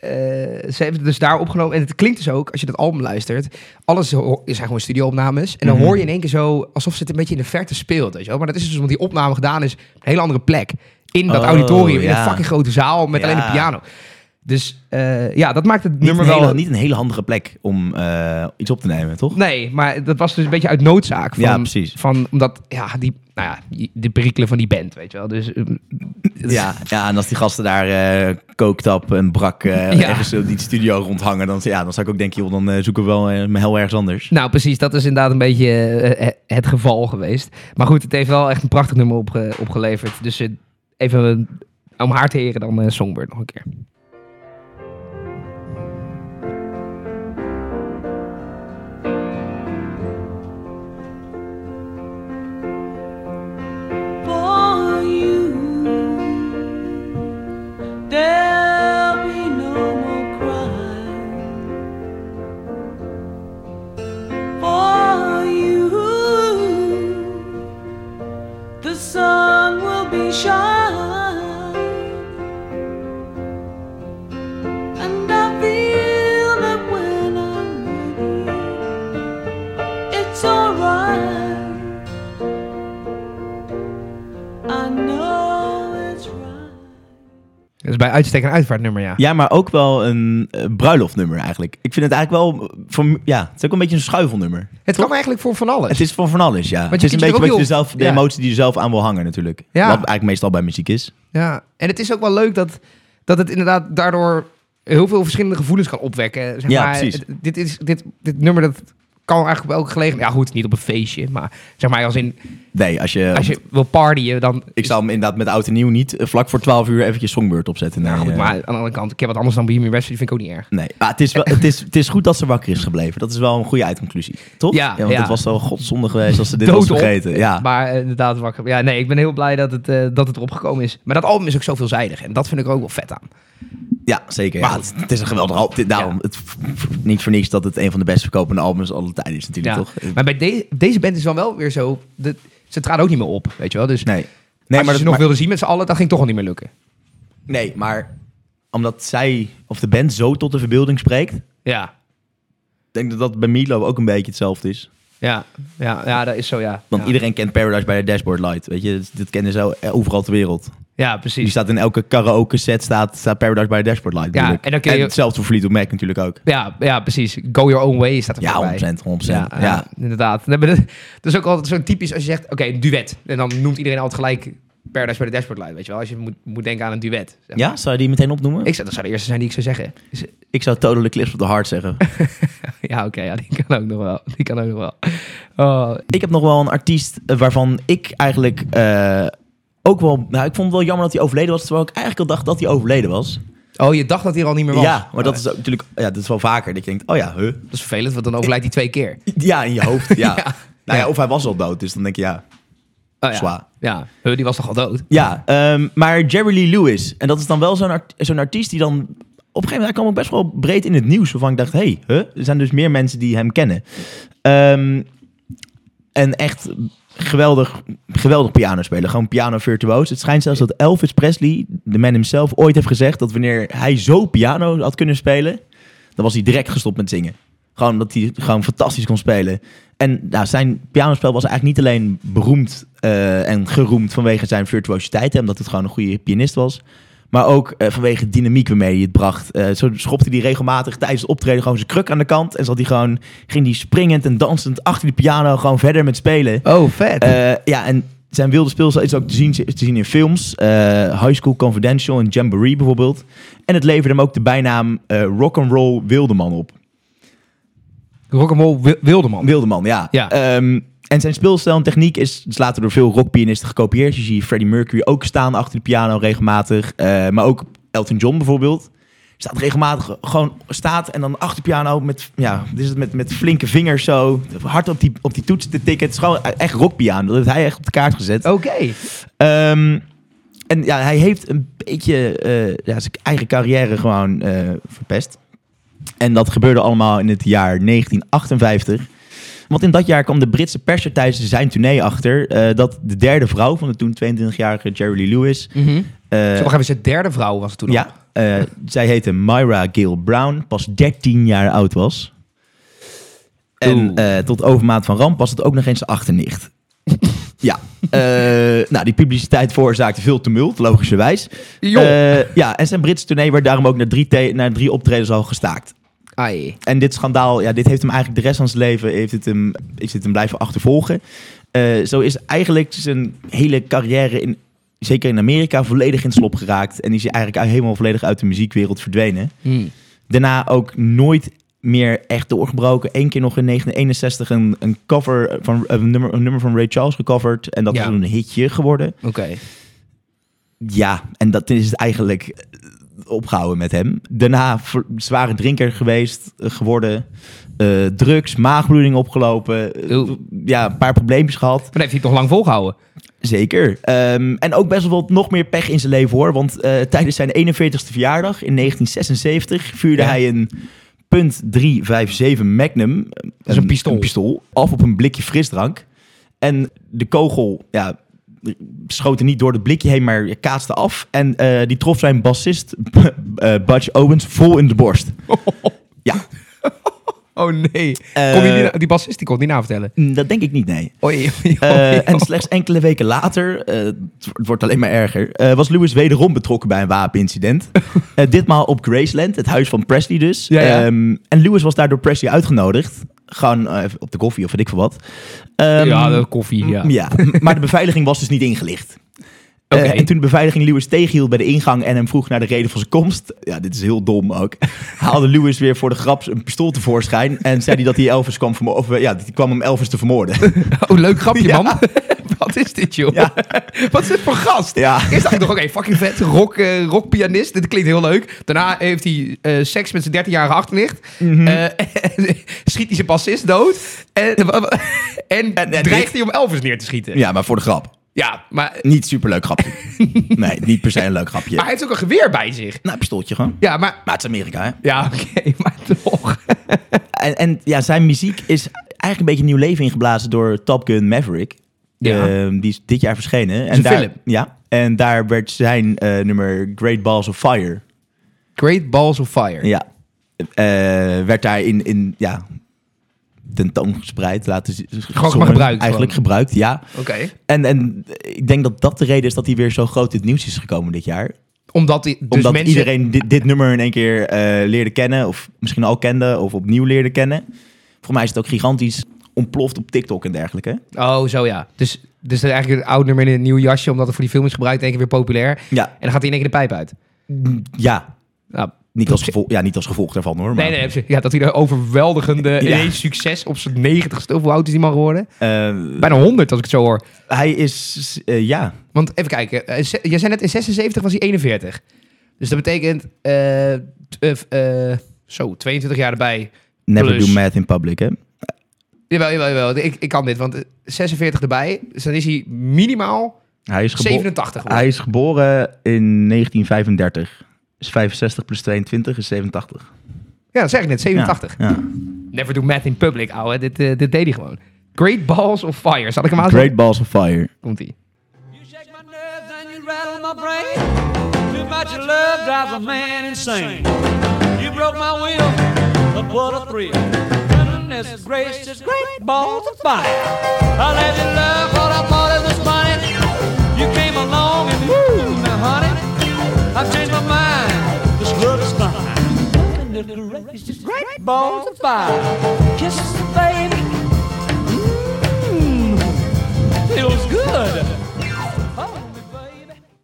Speaker 1: eh, zij heeft het dus daar opgenomen. En het klinkt dus ook, als je dat album luistert, alles ho- zijn gewoon studioopnames. En dan
Speaker 3: Mhm.
Speaker 1: hoor je in één keer zo alsof ze het een beetje in de verte speelt. Weet je wel? Maar dat is dus omdat die opname gedaan is op een hele andere plek. In dat
Speaker 3: Oh,
Speaker 1: auditorium, in
Speaker 3: ja.
Speaker 1: een fucking grote zaal met alleen
Speaker 3: Ja.
Speaker 1: een piano. Dus eh, ja, dat maakt het
Speaker 3: Niet,
Speaker 1: nummer
Speaker 3: een
Speaker 1: wel...
Speaker 3: hele, niet een hele handige plek om eh, iets op te nemen, toch?
Speaker 1: Nee, maar dat was dus een beetje uit noodzaak. Van,
Speaker 3: Ja, precies.
Speaker 1: Van, omdat, ja, die, nou ja, die- de perikelen van die band, weet je wel. Dus ehm,
Speaker 3: Ja, ja, en als die gasten daar eh, kooktap en brak eh,
Speaker 1: Ja.
Speaker 3: ergens in die studio rondhangen, dan, ja, dan zou ik ook denken, joh, dan eh, zoeken we wel eh, me heel ergens anders.
Speaker 1: Nou, precies. Dat is inderdaad een beetje eh, eh, het geval geweest. Maar goed, het heeft wel echt een prachtig nummer opge- opgeleverd. Dus eh, even eh, om haar te heren dan eh, Songbird nog een keer.
Speaker 5: for you. There'll be no more crying for you. The sun will be shining, and I feel that when I'm with you, it's alright. I know it's right.
Speaker 1: Dat is bij uitstek een uitvaartnummer, ja.
Speaker 3: Ja, maar ook wel een eh, bruiloftnummer eigenlijk. Ik vind het eigenlijk wel, eh, voor, ja, het is ook een beetje een schuifelnummer.
Speaker 1: het kan eigenlijk voor van alles.
Speaker 3: Het is van van alles, ja. het
Speaker 1: je
Speaker 3: is een
Speaker 1: kunt je
Speaker 3: beetje
Speaker 1: ook
Speaker 3: wat je
Speaker 1: heel-
Speaker 3: zelf, de
Speaker 1: ja.
Speaker 3: emotie die je zelf aan wil hangen natuurlijk.
Speaker 1: Ja.
Speaker 3: Wat eigenlijk meestal bij muziek is.
Speaker 1: Ja. En het is ook wel leuk dat, dat het inderdaad daardoor heel veel verschillende gevoelens kan opwekken. Zeg
Speaker 3: Ja,
Speaker 1: maar,
Speaker 3: precies.
Speaker 1: het- Dit, is, dit, dit nummer, dat kan eigenlijk op elke gelegenheid. Ja goed, niet op een feestje, maar zeg maar als in...
Speaker 3: Nee, als je...
Speaker 1: Als je wil partyen, dan...
Speaker 3: Ik zou hem inderdaad met oud en nieuw niet eh, vlak voor 12 uur eventjes Songbird opzetten. Nee,
Speaker 1: Nou goed,
Speaker 3: eh,
Speaker 1: maar aan de andere kant, ik heb wat anders dan Bohemian Rhapsody, vind ik ook niet erg.
Speaker 3: Nee, maar het is, wel, het, is, het is goed dat ze wakker is gebleven. Dat is wel een goede uitconclusie, toch?
Speaker 1: Ja,
Speaker 3: want
Speaker 1: ja.
Speaker 3: het was wel godzonde geweest als ze dit was
Speaker 1: Doodop.
Speaker 3: vergeten. Ja.
Speaker 1: Maar eh, inderdaad, wakker. Ja, nee, ik ben heel blij dat het, eh, dat het erop gekomen is. Maar dat album is ook zo veelzijdig. En dat vind ik er ook wel vet aan.
Speaker 3: ja, zeker.
Speaker 1: Maar
Speaker 3: ja, het, het is een geweldig album. Dit- Daarom,
Speaker 1: Ja.
Speaker 3: het, niet voor niks dat het een van de best verkopende albums alle tijden is natuurlijk,
Speaker 1: Ja.
Speaker 3: toch? Eh,
Speaker 1: Maar bij de- deze band is dan wel weer zo. De, ze traden ook niet meer op, weet je wel. Dus
Speaker 3: Nee. Nee,
Speaker 1: als
Speaker 3: maar
Speaker 1: je
Speaker 3: dat-
Speaker 1: ze nog
Speaker 3: maar-
Speaker 1: wilde zien met z'n allen, dat ging toch al niet meer lukken.
Speaker 3: nee, maar omdat zij of de band zo tot de verbeelding spreekt...
Speaker 1: Ja,
Speaker 3: denk dat dat bij Milo ook een beetje hetzelfde is.
Speaker 1: ja, ja, ja dat is zo, ja.
Speaker 3: Want
Speaker 1: ja.
Speaker 3: iedereen kent Paradise by the Dashboard Light. Weet je, dit kennen ze o- overal ter wereld.
Speaker 1: Ja,
Speaker 3: Die
Speaker 1: precies.
Speaker 3: staat in elke karaoke set staat, staat Paradise by the Dashboard Light.
Speaker 1: Ja,
Speaker 3: natuurlijk.
Speaker 1: en dan kun je-
Speaker 3: hetzelfde voor Fleetwood Mac natuurlijk ook.
Speaker 1: Ja, ja, precies. Go your own way staat er
Speaker 3: Ja,
Speaker 1: voorbij.
Speaker 3: 100%, 100%.
Speaker 1: Ja,
Speaker 3: Ja,
Speaker 1: ja, inderdaad. Nee, maar dat, dat is ook altijd zo typisch als je zegt, oké, een duet. En dan noemt iedereen altijd gelijk Paradise by the Dashboard Light, weet je wel. Als je moet, moet denken aan een duet. zeg maar.
Speaker 3: Ja, zou je die meteen opnoemen? Ik,
Speaker 1: Ik zou, dat zou de eerste zijn die ik zou zeggen. Is-
Speaker 3: ik zou Totally Clips op de Heart zeggen.
Speaker 1: Ja, oké, ja, die kan ook nog wel. Die kan ook nog wel. Oh,
Speaker 3: ik heb nog wel een artiest eh, waarvan ik eigenlijk eh, ook wel... Nou, ik vond het wel jammer dat hij overleden was. Terwijl ik eigenlijk al dacht dat hij overleden was.
Speaker 1: oh, je dacht dat hij er al niet meer was?
Speaker 3: Ja, maar dat
Speaker 1: Oh,
Speaker 3: is ook natuurlijk... Ja, dat is wel vaker. Dat je denkt, oh ja, huh?
Speaker 1: dat is vervelend, want dan overlijdt hij twee keer.
Speaker 3: Ja, in je hoofd, ja.
Speaker 1: Ja.
Speaker 3: Nou
Speaker 1: Ja.
Speaker 3: ja, of hij was al dood. Dus dan denk je, ja...
Speaker 1: Oh, ja.
Speaker 3: Zwaar.
Speaker 1: Ja, Huh, die was toch al dood?
Speaker 3: Ja, ehm, maar Jerry Lee Lewis. En dat is dan wel zo'n art- zo'n artiest die dan... Op een gegeven moment hij kwam ook best wel breed in het nieuws. Waarvan ik dacht, hé, hey, huh? er zijn dus meer mensen die hem kennen. Ehm, en echt geweldig, geweldig piano spelen. Gewoon piano virtuoos. Het schijnt zelfs dat Elvis Presley, de man himself, ooit heeft gezegd... dat wanneer hij zo piano had kunnen spelen... dan was hij direct gestopt met zingen. Gewoon omdat hij gewoon fantastisch kon spelen. En nou, zijn pianospel was eigenlijk niet alleen beroemd eh, en geroemd vanwege zijn virtuositeit, en omdat het gewoon een goede pianist was. Maar ook eh, vanwege de dynamiek waarmee hij het bracht. Eh, zo schopte hij regelmatig tijdens het optreden gewoon zijn kruk aan de kant. En zat hij gewoon, ging hij springend en dansend achter de piano gewoon verder met spelen.
Speaker 1: Oh, vet.
Speaker 3: Eh, ja, en zijn wilde speelstijl is ook te zien, te zien in films. eh, High School Confidential en Jamboree bijvoorbeeld. En het leverde hem ook de bijnaam eh Rock'n'Roll Wildeman op.
Speaker 1: Rock'n'roll Wi- Wildeman.
Speaker 3: Wildeman, ja.
Speaker 1: Ja.
Speaker 3: Ehm, en zijn speelstijl en techniek is, is later door veel rockpianisten gekopieerd. Je ziet Freddie Mercury ook staan achter de piano regelmatig. eh, maar ook Elton John bijvoorbeeld. Staat regelmatig gewoon staat en dan achter de piano met, ja, wat is het, met, met flinke vingers zo. Hard op die, op die toetsen te tikken. Het is gewoon echt rockpiano. Dat heeft hij echt op de kaart gezet.
Speaker 1: Oké.
Speaker 3: Ehm, en ja, hij heeft een beetje eh, ja, zijn eigen carrière gewoon eh, verpest. En dat gebeurde allemaal in het jaar 1958. Want in dat jaar kwam de Britse pers er tijdens zijn tournee achter... eh, dat de derde vrouw van de toen 22-jarige Jerry Lee Lewis...
Speaker 1: Mhm.
Speaker 3: eh,
Speaker 1: Zo, wacht even, zijn derde vrouw was het toen al.
Speaker 3: ja, eh, zij heette Myra Gail Brown, pas 13 jaar oud was. En
Speaker 1: Oeh.
Speaker 3: eh, tot overmaat van ramp was het ook nog eens zijn achternicht. ja, Eh, nou, die publiciteit veroorzaakte veel tumult, logischerwijs.
Speaker 1: Joh.
Speaker 3: Eh, ja, en zijn Britse tournee werd daarom ook na drie, the- na drie optredens al gestaakt.
Speaker 1: Ai.
Speaker 3: En dit schandaal, ja, dit heeft hem eigenlijk de rest van zijn leven heeft het hem, heeft het hem blijven achtervolgen. Eh, zo is eigenlijk zijn hele carrière, in, zeker in Amerika, volledig in het slop geraakt. En is hij eigenlijk helemaal volledig uit de muziekwereld verdwenen.
Speaker 1: Hm.
Speaker 3: Daarna ook nooit meer echt doorgebroken. Eén keer nog in 1961 een, een cover van een nummer, een nummer van Ray Charles gecoverd. En dat
Speaker 1: Ja.
Speaker 3: is een hitje geworden.
Speaker 1: Oké.
Speaker 3: Ja, en dat is het eigenlijk eh, opgehouden met hem. Daarna ver- zware drinker geweest, eh, geworden. Eh, drugs, maagbloeding opgelopen. Eh,
Speaker 1: Oeh.
Speaker 3: ja, een paar probleempjes gehad.
Speaker 1: Maar dan heeft hij het nog lang volgehouden.
Speaker 3: Zeker. Ehm, en ook best wel wat nog meer pech in zijn leven hoor. Want eh, tijdens zijn 41ste verjaardag in 1976 vuurde
Speaker 1: Ja.
Speaker 3: hij een .357 Magnum. Dat
Speaker 1: is een pistool.
Speaker 3: Af op een blikje frisdrank. En de kogel ja, schoot er niet door het blikje heen, maar kaatste af. En eh, die trof zijn bassist eh Butch Owens vol in de borst. Ja,
Speaker 1: Oh nee.
Speaker 3: Eh.
Speaker 1: Kon die, niet na- die bassist die kon het niet navertellen.
Speaker 3: dat denk ik niet, nee.
Speaker 1: Oei, oei,
Speaker 3: Eh,
Speaker 1: oei.
Speaker 3: en slechts enkele weken later, eh, het wo- het wordt alleen maar erger, eh, was Lewis wederom betrokken bij een wapenincident. Eh, ditmaal op Graceland, het huis van Presley dus.
Speaker 1: Ja, ja.
Speaker 3: Ehm, en Lewis was daardoor Presley uitgenodigd. Gewoon eh, even op de koffie of weet ik veel wat. Ehm,
Speaker 1: ja, de koffie, ja.
Speaker 3: m- ja. Maar de beveiliging was dus niet ingelicht.
Speaker 1: Oké.
Speaker 3: Eh, en toen de beveiliging Lewis tegenhield bij de ingang en hem vroeg naar de reden van zijn komst. Ja, dit is heel dom ook. Haalde Lewis weer voor de grap een pistool tevoorschijn. En zei hij dat hij Elvis kwam vermoorden. Of, eh, Ja, die kwam hem Elvis te vermoorden.
Speaker 1: Oh, leuk grapje,
Speaker 3: Ja.
Speaker 1: man. Wat is dit, joh?
Speaker 3: Ja.
Speaker 1: Wat is dit voor gast?
Speaker 3: Ja.
Speaker 1: Eerst dacht ik nog, oké, fucking vet, rock, eh, rockpianist. Dit klinkt heel leuk. Daarna heeft hij eh, seks met zijn 13-jarige achternicht.
Speaker 3: Mhm.
Speaker 1: Eh, schiet hij zijn bassist dood. En, en,
Speaker 3: en
Speaker 1: dreigt
Speaker 3: dit-
Speaker 1: hij om Elvis neer te schieten.
Speaker 3: Ja, maar voor de grap.
Speaker 1: Ja, maar,
Speaker 3: Niet superleuk grapje. nee, niet per se een leuk grapje.
Speaker 1: maar hij heeft ook een geweer bij zich.
Speaker 3: Nou, pistooltje gewoon.
Speaker 1: Ja, maar...
Speaker 3: Maar het is Amerika, hè?
Speaker 1: Ja, oké, maar toch.
Speaker 3: En, en ja, zijn muziek is eigenlijk een beetje nieuw leven ingeblazen door Top Gun Maverick.
Speaker 1: Ja.
Speaker 3: Ehm, die is dit jaar verschenen. En
Speaker 1: een
Speaker 3: daar,
Speaker 1: film.
Speaker 3: Ja, en daar werd zijn eh, nummer Great Balls of Fire.
Speaker 1: Great Balls of Fire.
Speaker 3: Ja. Eh, werd daar in, in ja, tentoongespreid. Laten ze- gezongen,
Speaker 1: gebruikt
Speaker 3: Eigenlijk
Speaker 1: gewoon.
Speaker 3: gebruikt, ja.
Speaker 1: Oké.
Speaker 3: En, en ik denk dat dat de reden is dat hij weer zo groot in het nieuws is gekomen dit jaar.
Speaker 1: Omdat, die, dus
Speaker 3: Omdat
Speaker 1: mensen...
Speaker 3: iedereen dit, dit nummer in één keer eh, leerde kennen. Of misschien al kende. Of opnieuw leerde kennen. Voor mij is het ook gigantisch ontploft op TikTok en dergelijke.
Speaker 1: Oh, zo ja. Dus, dus dat is eigenlijk een oud nummer in een nieuw jasje, omdat het voor die film is gebruikt, in één keer weer populair.
Speaker 3: Ja.
Speaker 1: En dan gaat hij in één keer de pijp uit.
Speaker 3: Ja.
Speaker 1: Nou,
Speaker 3: Niet als, gevolg, ja, niet als gevolg daarvan hoor. Maar,
Speaker 1: nee, nee, nee, ja, dat hij er overweldigende ineens
Speaker 3: Ja.
Speaker 1: succes op zijn negentigste, of hoe oud is die man geworden?
Speaker 3: Eh,
Speaker 1: Bijna honderd, als ik het zo hoor.
Speaker 3: hij is, eh, ja,
Speaker 1: Want even kijken, eh, ze- jij zei net in 76 was hij 41. Dus dat betekent, eh, t- eh, eh, zo, 22 jaar erbij.
Speaker 3: never
Speaker 1: Plus.
Speaker 3: do math in public hè.
Speaker 1: Jawel, jawel, jawel. Ik, ik kan dit, want eh, 46 erbij, dus dan is hij minimaal
Speaker 3: Hij is, gebo-
Speaker 1: 87 geworden.
Speaker 3: hij is geboren in 1935. Is 65 plus 22 is 87.
Speaker 1: Ja, dat zeg ik net, 87.
Speaker 3: Ja, ja.
Speaker 1: Never do math in public, ouwe. Dit, eh, dit deed hij gewoon. Great balls of fire. Zal ik hem aanzetten?
Speaker 3: Great balls of fire.
Speaker 1: Komt ie.
Speaker 5: You shake my nerves and you rattle my brain. Too much of love drives a man insane. You broke my will, but what a thrill. Goodness gracious, great balls of fire. I let you love what I thought it was funny. You came along and woo, now honey, I've changed my mind. This love is fine. Goodness gracious, Great balls of fire. Kisses, baby. Mmm. Feels good.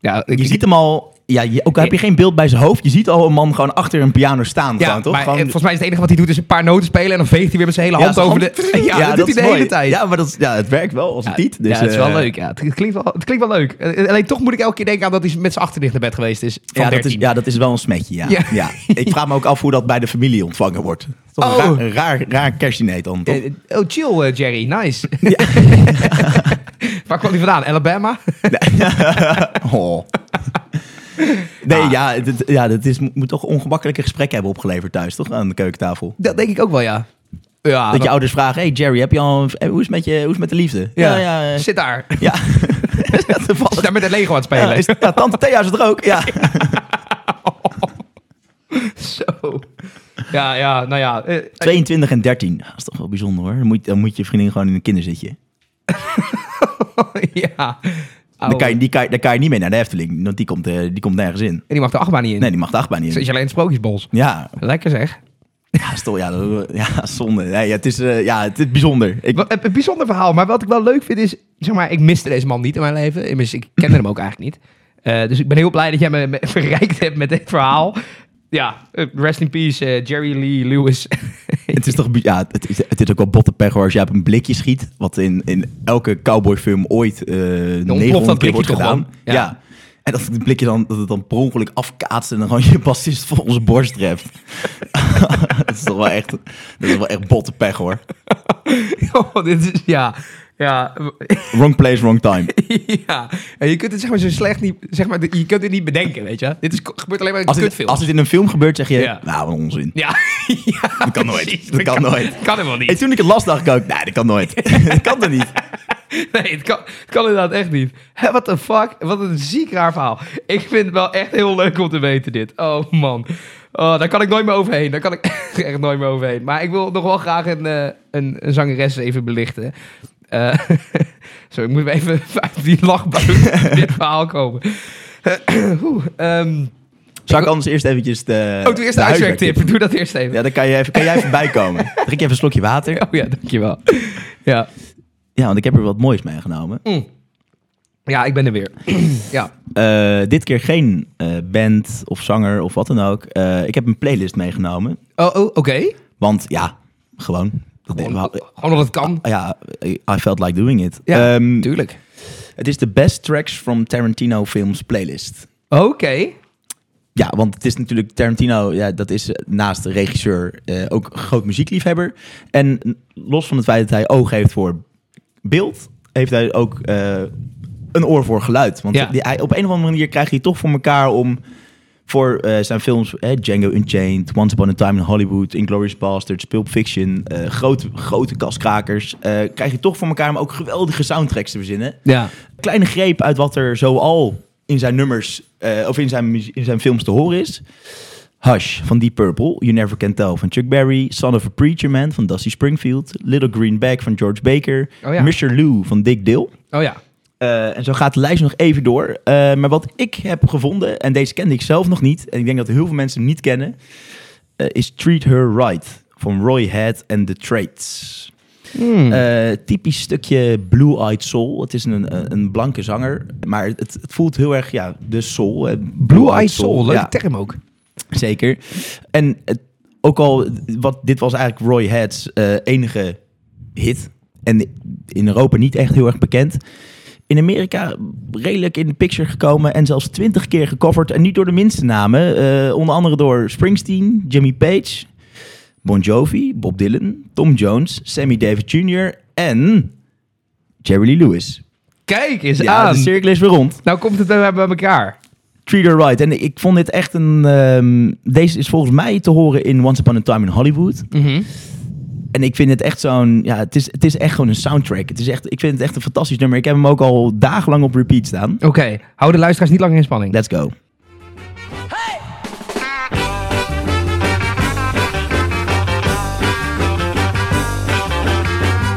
Speaker 1: Ja, ik,
Speaker 3: Je ziet hem al, ja, je- ook al heb je geen beeld bij zijn hoofd. Je ziet al een man gewoon achter een piano staan.
Speaker 1: ja,
Speaker 3: gewoon, toch?
Speaker 1: maar eh,
Speaker 3: Gewoon-
Speaker 1: volgens mij is het enige wat hij doet is een paar noten spelen en dan veegt hij weer met zijn hele hand
Speaker 3: zijn
Speaker 1: over
Speaker 3: hand-
Speaker 1: de... Ja, dat, doet hij de
Speaker 3: is
Speaker 1: hele
Speaker 3: mooi.
Speaker 1: tijd.
Speaker 3: Ja, maar dat, is- ja, het werkt wel als een tiet. Dus,
Speaker 1: ja, het is wel
Speaker 3: eh,
Speaker 1: leuk. Ja. Het, het klinkt wel, het klinkt wel leuk. Eh, Alleen toch moet ik elke keer denken aan dat hij met zijn achterdicht naar bed geweest is. Van
Speaker 3: Ja dat, is,
Speaker 1: 13.
Speaker 3: ja, dat is wel een smetje, ja.
Speaker 1: Ja.
Speaker 3: Ja. Ik vraag me ook af hoe dat bij de familie ontvangen wordt. Toch
Speaker 1: Oh.
Speaker 3: een raar, een raar, raar kerstdiner dan, toch?
Speaker 1: Eh, eh, Oh, chill, eh, Jerry. Nice. Waar kwam hij vandaan? Alabama? Eh.
Speaker 3: Oh. Nee,
Speaker 1: Ah.
Speaker 3: ja, dit, ja, dat is, moet toch ongemakkelijke gesprekken hebben opgeleverd thuis, toch? Aan de keukentafel.
Speaker 1: Dat denk ik ook wel, ja. Ja,
Speaker 3: Dat je
Speaker 1: dat-
Speaker 3: ouders vragen, hey Jerry, heb je al een- eh, hoe, is het met je, hoe is het met de liefde?
Speaker 1: ja.
Speaker 3: ja. eh,
Speaker 1: Zit daar.
Speaker 3: ja. Ja,
Speaker 1: Zit
Speaker 3: toevallig.
Speaker 1: daar met het Lego aan het spelen.
Speaker 3: Ja, is, ja, tante Thea is er ook, ja.
Speaker 1: Zo. Ja, ja, nou ja. eh,
Speaker 3: 22 en 13, dat is toch wel bijzonder hoor. Dan moet, dan moet je vriendin gewoon in een kinderzitje.
Speaker 1: oh, ja. Oh.
Speaker 3: Daar kan, je, die kan, je- daar kan je niet mee naar de Efteling, want die komt, eh, die komt nergens in.
Speaker 1: En die mag de achtbaan niet in.
Speaker 3: Nee, die mag de achtbaan niet
Speaker 1: Zit
Speaker 3: in.
Speaker 1: je alleen in het Sprookjesbos.
Speaker 3: Ja,
Speaker 1: Lekker zeg.
Speaker 3: ja, stom, ja, dat- ja zonde. Nee, ja, het, is, eh, ja, het is bijzonder. Ik,
Speaker 1: Wat- Een een bijzonder verhaal, maar wat ik wel leuk vind is... Zeg maar, ik miste deze man niet in mijn leven. Immers, ik kende hem ook eigenlijk niet. Eh, dus ik ben heel blij dat jij me, me verrijkt hebt met dit verhaal. Ja, eh, rest in peace eh, Jerry Lee Lewis.
Speaker 3: Het is toch, bi- ja, het is, het is ook wel botte pech hoor. Als jij op een blikje schiet, wat in, in elke cowboyfilm ooit eh
Speaker 1: ontploft
Speaker 3: 900
Speaker 1: dat
Speaker 3: keer
Speaker 1: blikje
Speaker 3: wordt
Speaker 1: toch
Speaker 3: gedaan.
Speaker 1: gewoon? Ja.
Speaker 3: Ja. En dat het blikje dan, dat het dan per ongeluk afkaatst en dan gewoon je bassist vol onze borst treft. dat is toch wel echt, dat is wel echt botte pech hoor.
Speaker 1: oh, dit is, ja, ja,
Speaker 3: Wrong place, wrong time.
Speaker 1: ja. En je kunt het zeg maar zo slecht niet... Zeg maar, je kunt het niet bedenken, weet je. Dit is, gebeurt alleen maar in
Speaker 3: Als het,
Speaker 1: kutfilms.
Speaker 3: als het in een film gebeurt, zeg je,
Speaker 1: Ja.
Speaker 3: nou wat onzin.
Speaker 1: Ja, ja, dat
Speaker 3: kan nooit. Dat kan nooit.
Speaker 1: Kan helemaal niet.
Speaker 3: En toen ik het las, dacht ik ook, nee, dat kan nooit. dat kan er niet.
Speaker 1: Nee, het kan, het kan inderdaad echt niet. Hè, what the fuck? Wat een ziek raar verhaal. Ik vind het wel echt heel leuk om te weten dit. Oh man. Oh, daar kan ik nooit meer overheen. Daar kan ik echt nooit meer overheen. Maar ik wil nog wel graag een, eh, een, een zangeres even belichten. Eh sorry, ik moet even uit die lachbuik dit verhaal komen. Oeh, ehm,
Speaker 3: Zou ik anders eerst eventjes de
Speaker 1: oh, doe eerst de huiswerktip. Doe dat eerst even.
Speaker 3: Ja, dan kan, je even, kan jij even bijkomen. Drink even een slokje water.
Speaker 1: Oh ja, dankjewel. Ja.
Speaker 3: Ja, want ik heb er wat moois meegenomen.
Speaker 1: Mm. ja, ik ben er weer. ja.
Speaker 3: Eh, dit keer geen eh, band of zanger of wat dan ook. Eh, ik heb een playlist meegenomen.
Speaker 1: Oh, oh oké.
Speaker 3: Want ja, gewoon. Dat
Speaker 1: Gewoon,
Speaker 3: we-
Speaker 1: gewoon omdat het kan.
Speaker 3: ja, eh, I felt like doing it.
Speaker 1: Ja,
Speaker 3: Ehm,
Speaker 1: tuurlijk.
Speaker 3: het is de best tracks from Tarantino films playlist.
Speaker 1: Oké.
Speaker 3: Ja, want het is natuurlijk Tarantino, ja, dat is eh, naast de regisseur eh, ook een groot muziekliefhebber. En los van het feit dat hij oog heeft voor beeld, heeft hij ook eh, een oor voor geluid. Want
Speaker 1: Ja.
Speaker 3: die, hij, op een of andere manier krijgt hij toch voor elkaar om voor eh, zijn films eh, Django Unchained, Once Upon a Time in Hollywood, Inglourious Basterds, Pulp Fiction, eh, grote, grote kaskrakers, eh krijgt hij toch voor elkaar om ook geweldige soundtracks te verzinnen
Speaker 1: Ja.
Speaker 3: kleine greep uit wat er zoal in zijn nummers eh, of in zijn, muzie- in zijn films te horen is. Hush van Deep Purple, You Never Can Tell van Chuck Berry, Son of a Preacher Man van Dusty Springfield, Little Green Bag van George Baker,
Speaker 1: Oh ja.
Speaker 3: Mr. Lou van Dick Dill.
Speaker 1: Oh ja.
Speaker 3: Eh, en zo gaat de lijst nog even door. Eh, maar wat ik heb gevonden, en deze kende ik zelf nog niet, en ik denk dat heel veel mensen hem niet kennen, eh, is Treat Her Right van Roy Head and the Traits. Eh, typisch stukje Blue Eyed Soul. Het is een, een, een blanke zanger, maar het, het voelt heel erg, ja, de soul. eh,
Speaker 1: Blue Eyed Soul, leuke
Speaker 3: ja.
Speaker 1: term ook.
Speaker 3: Zeker. En het- ook al, wat, dit was eigenlijk Roy Head's eh, enige hit. En in Europa niet echt heel erg bekend. In Amerika redelijk in de picture gekomen en zelfs twintig keer gecoverd. En niet door de minste namen. Eh, onder andere door Springsteen, Jimmy Page, Bon Jovi, Bob Dylan, Tom Jones, Sammy Davis Jr. en Jerry Lee Lewis.
Speaker 1: Kijk eens
Speaker 3: Ja, dus
Speaker 1: aan.
Speaker 3: de cirkel is weer rond.
Speaker 1: Nou komt het eh, bij elkaar.
Speaker 3: Treat Her Right. En ik vond dit echt een... ehm, deze is volgens mij te horen in Once Upon a Time in Hollywood.
Speaker 1: Mhm.
Speaker 3: En ik vind het echt zo'n... Ja, het is, het is echt gewoon een soundtrack. Het is echt, ik vind het echt een fantastisch nummer. Ik heb hem ook al dagenlang op repeat staan.
Speaker 1: Oké, hou de luisteraars niet langer in spanning.
Speaker 3: Let's go.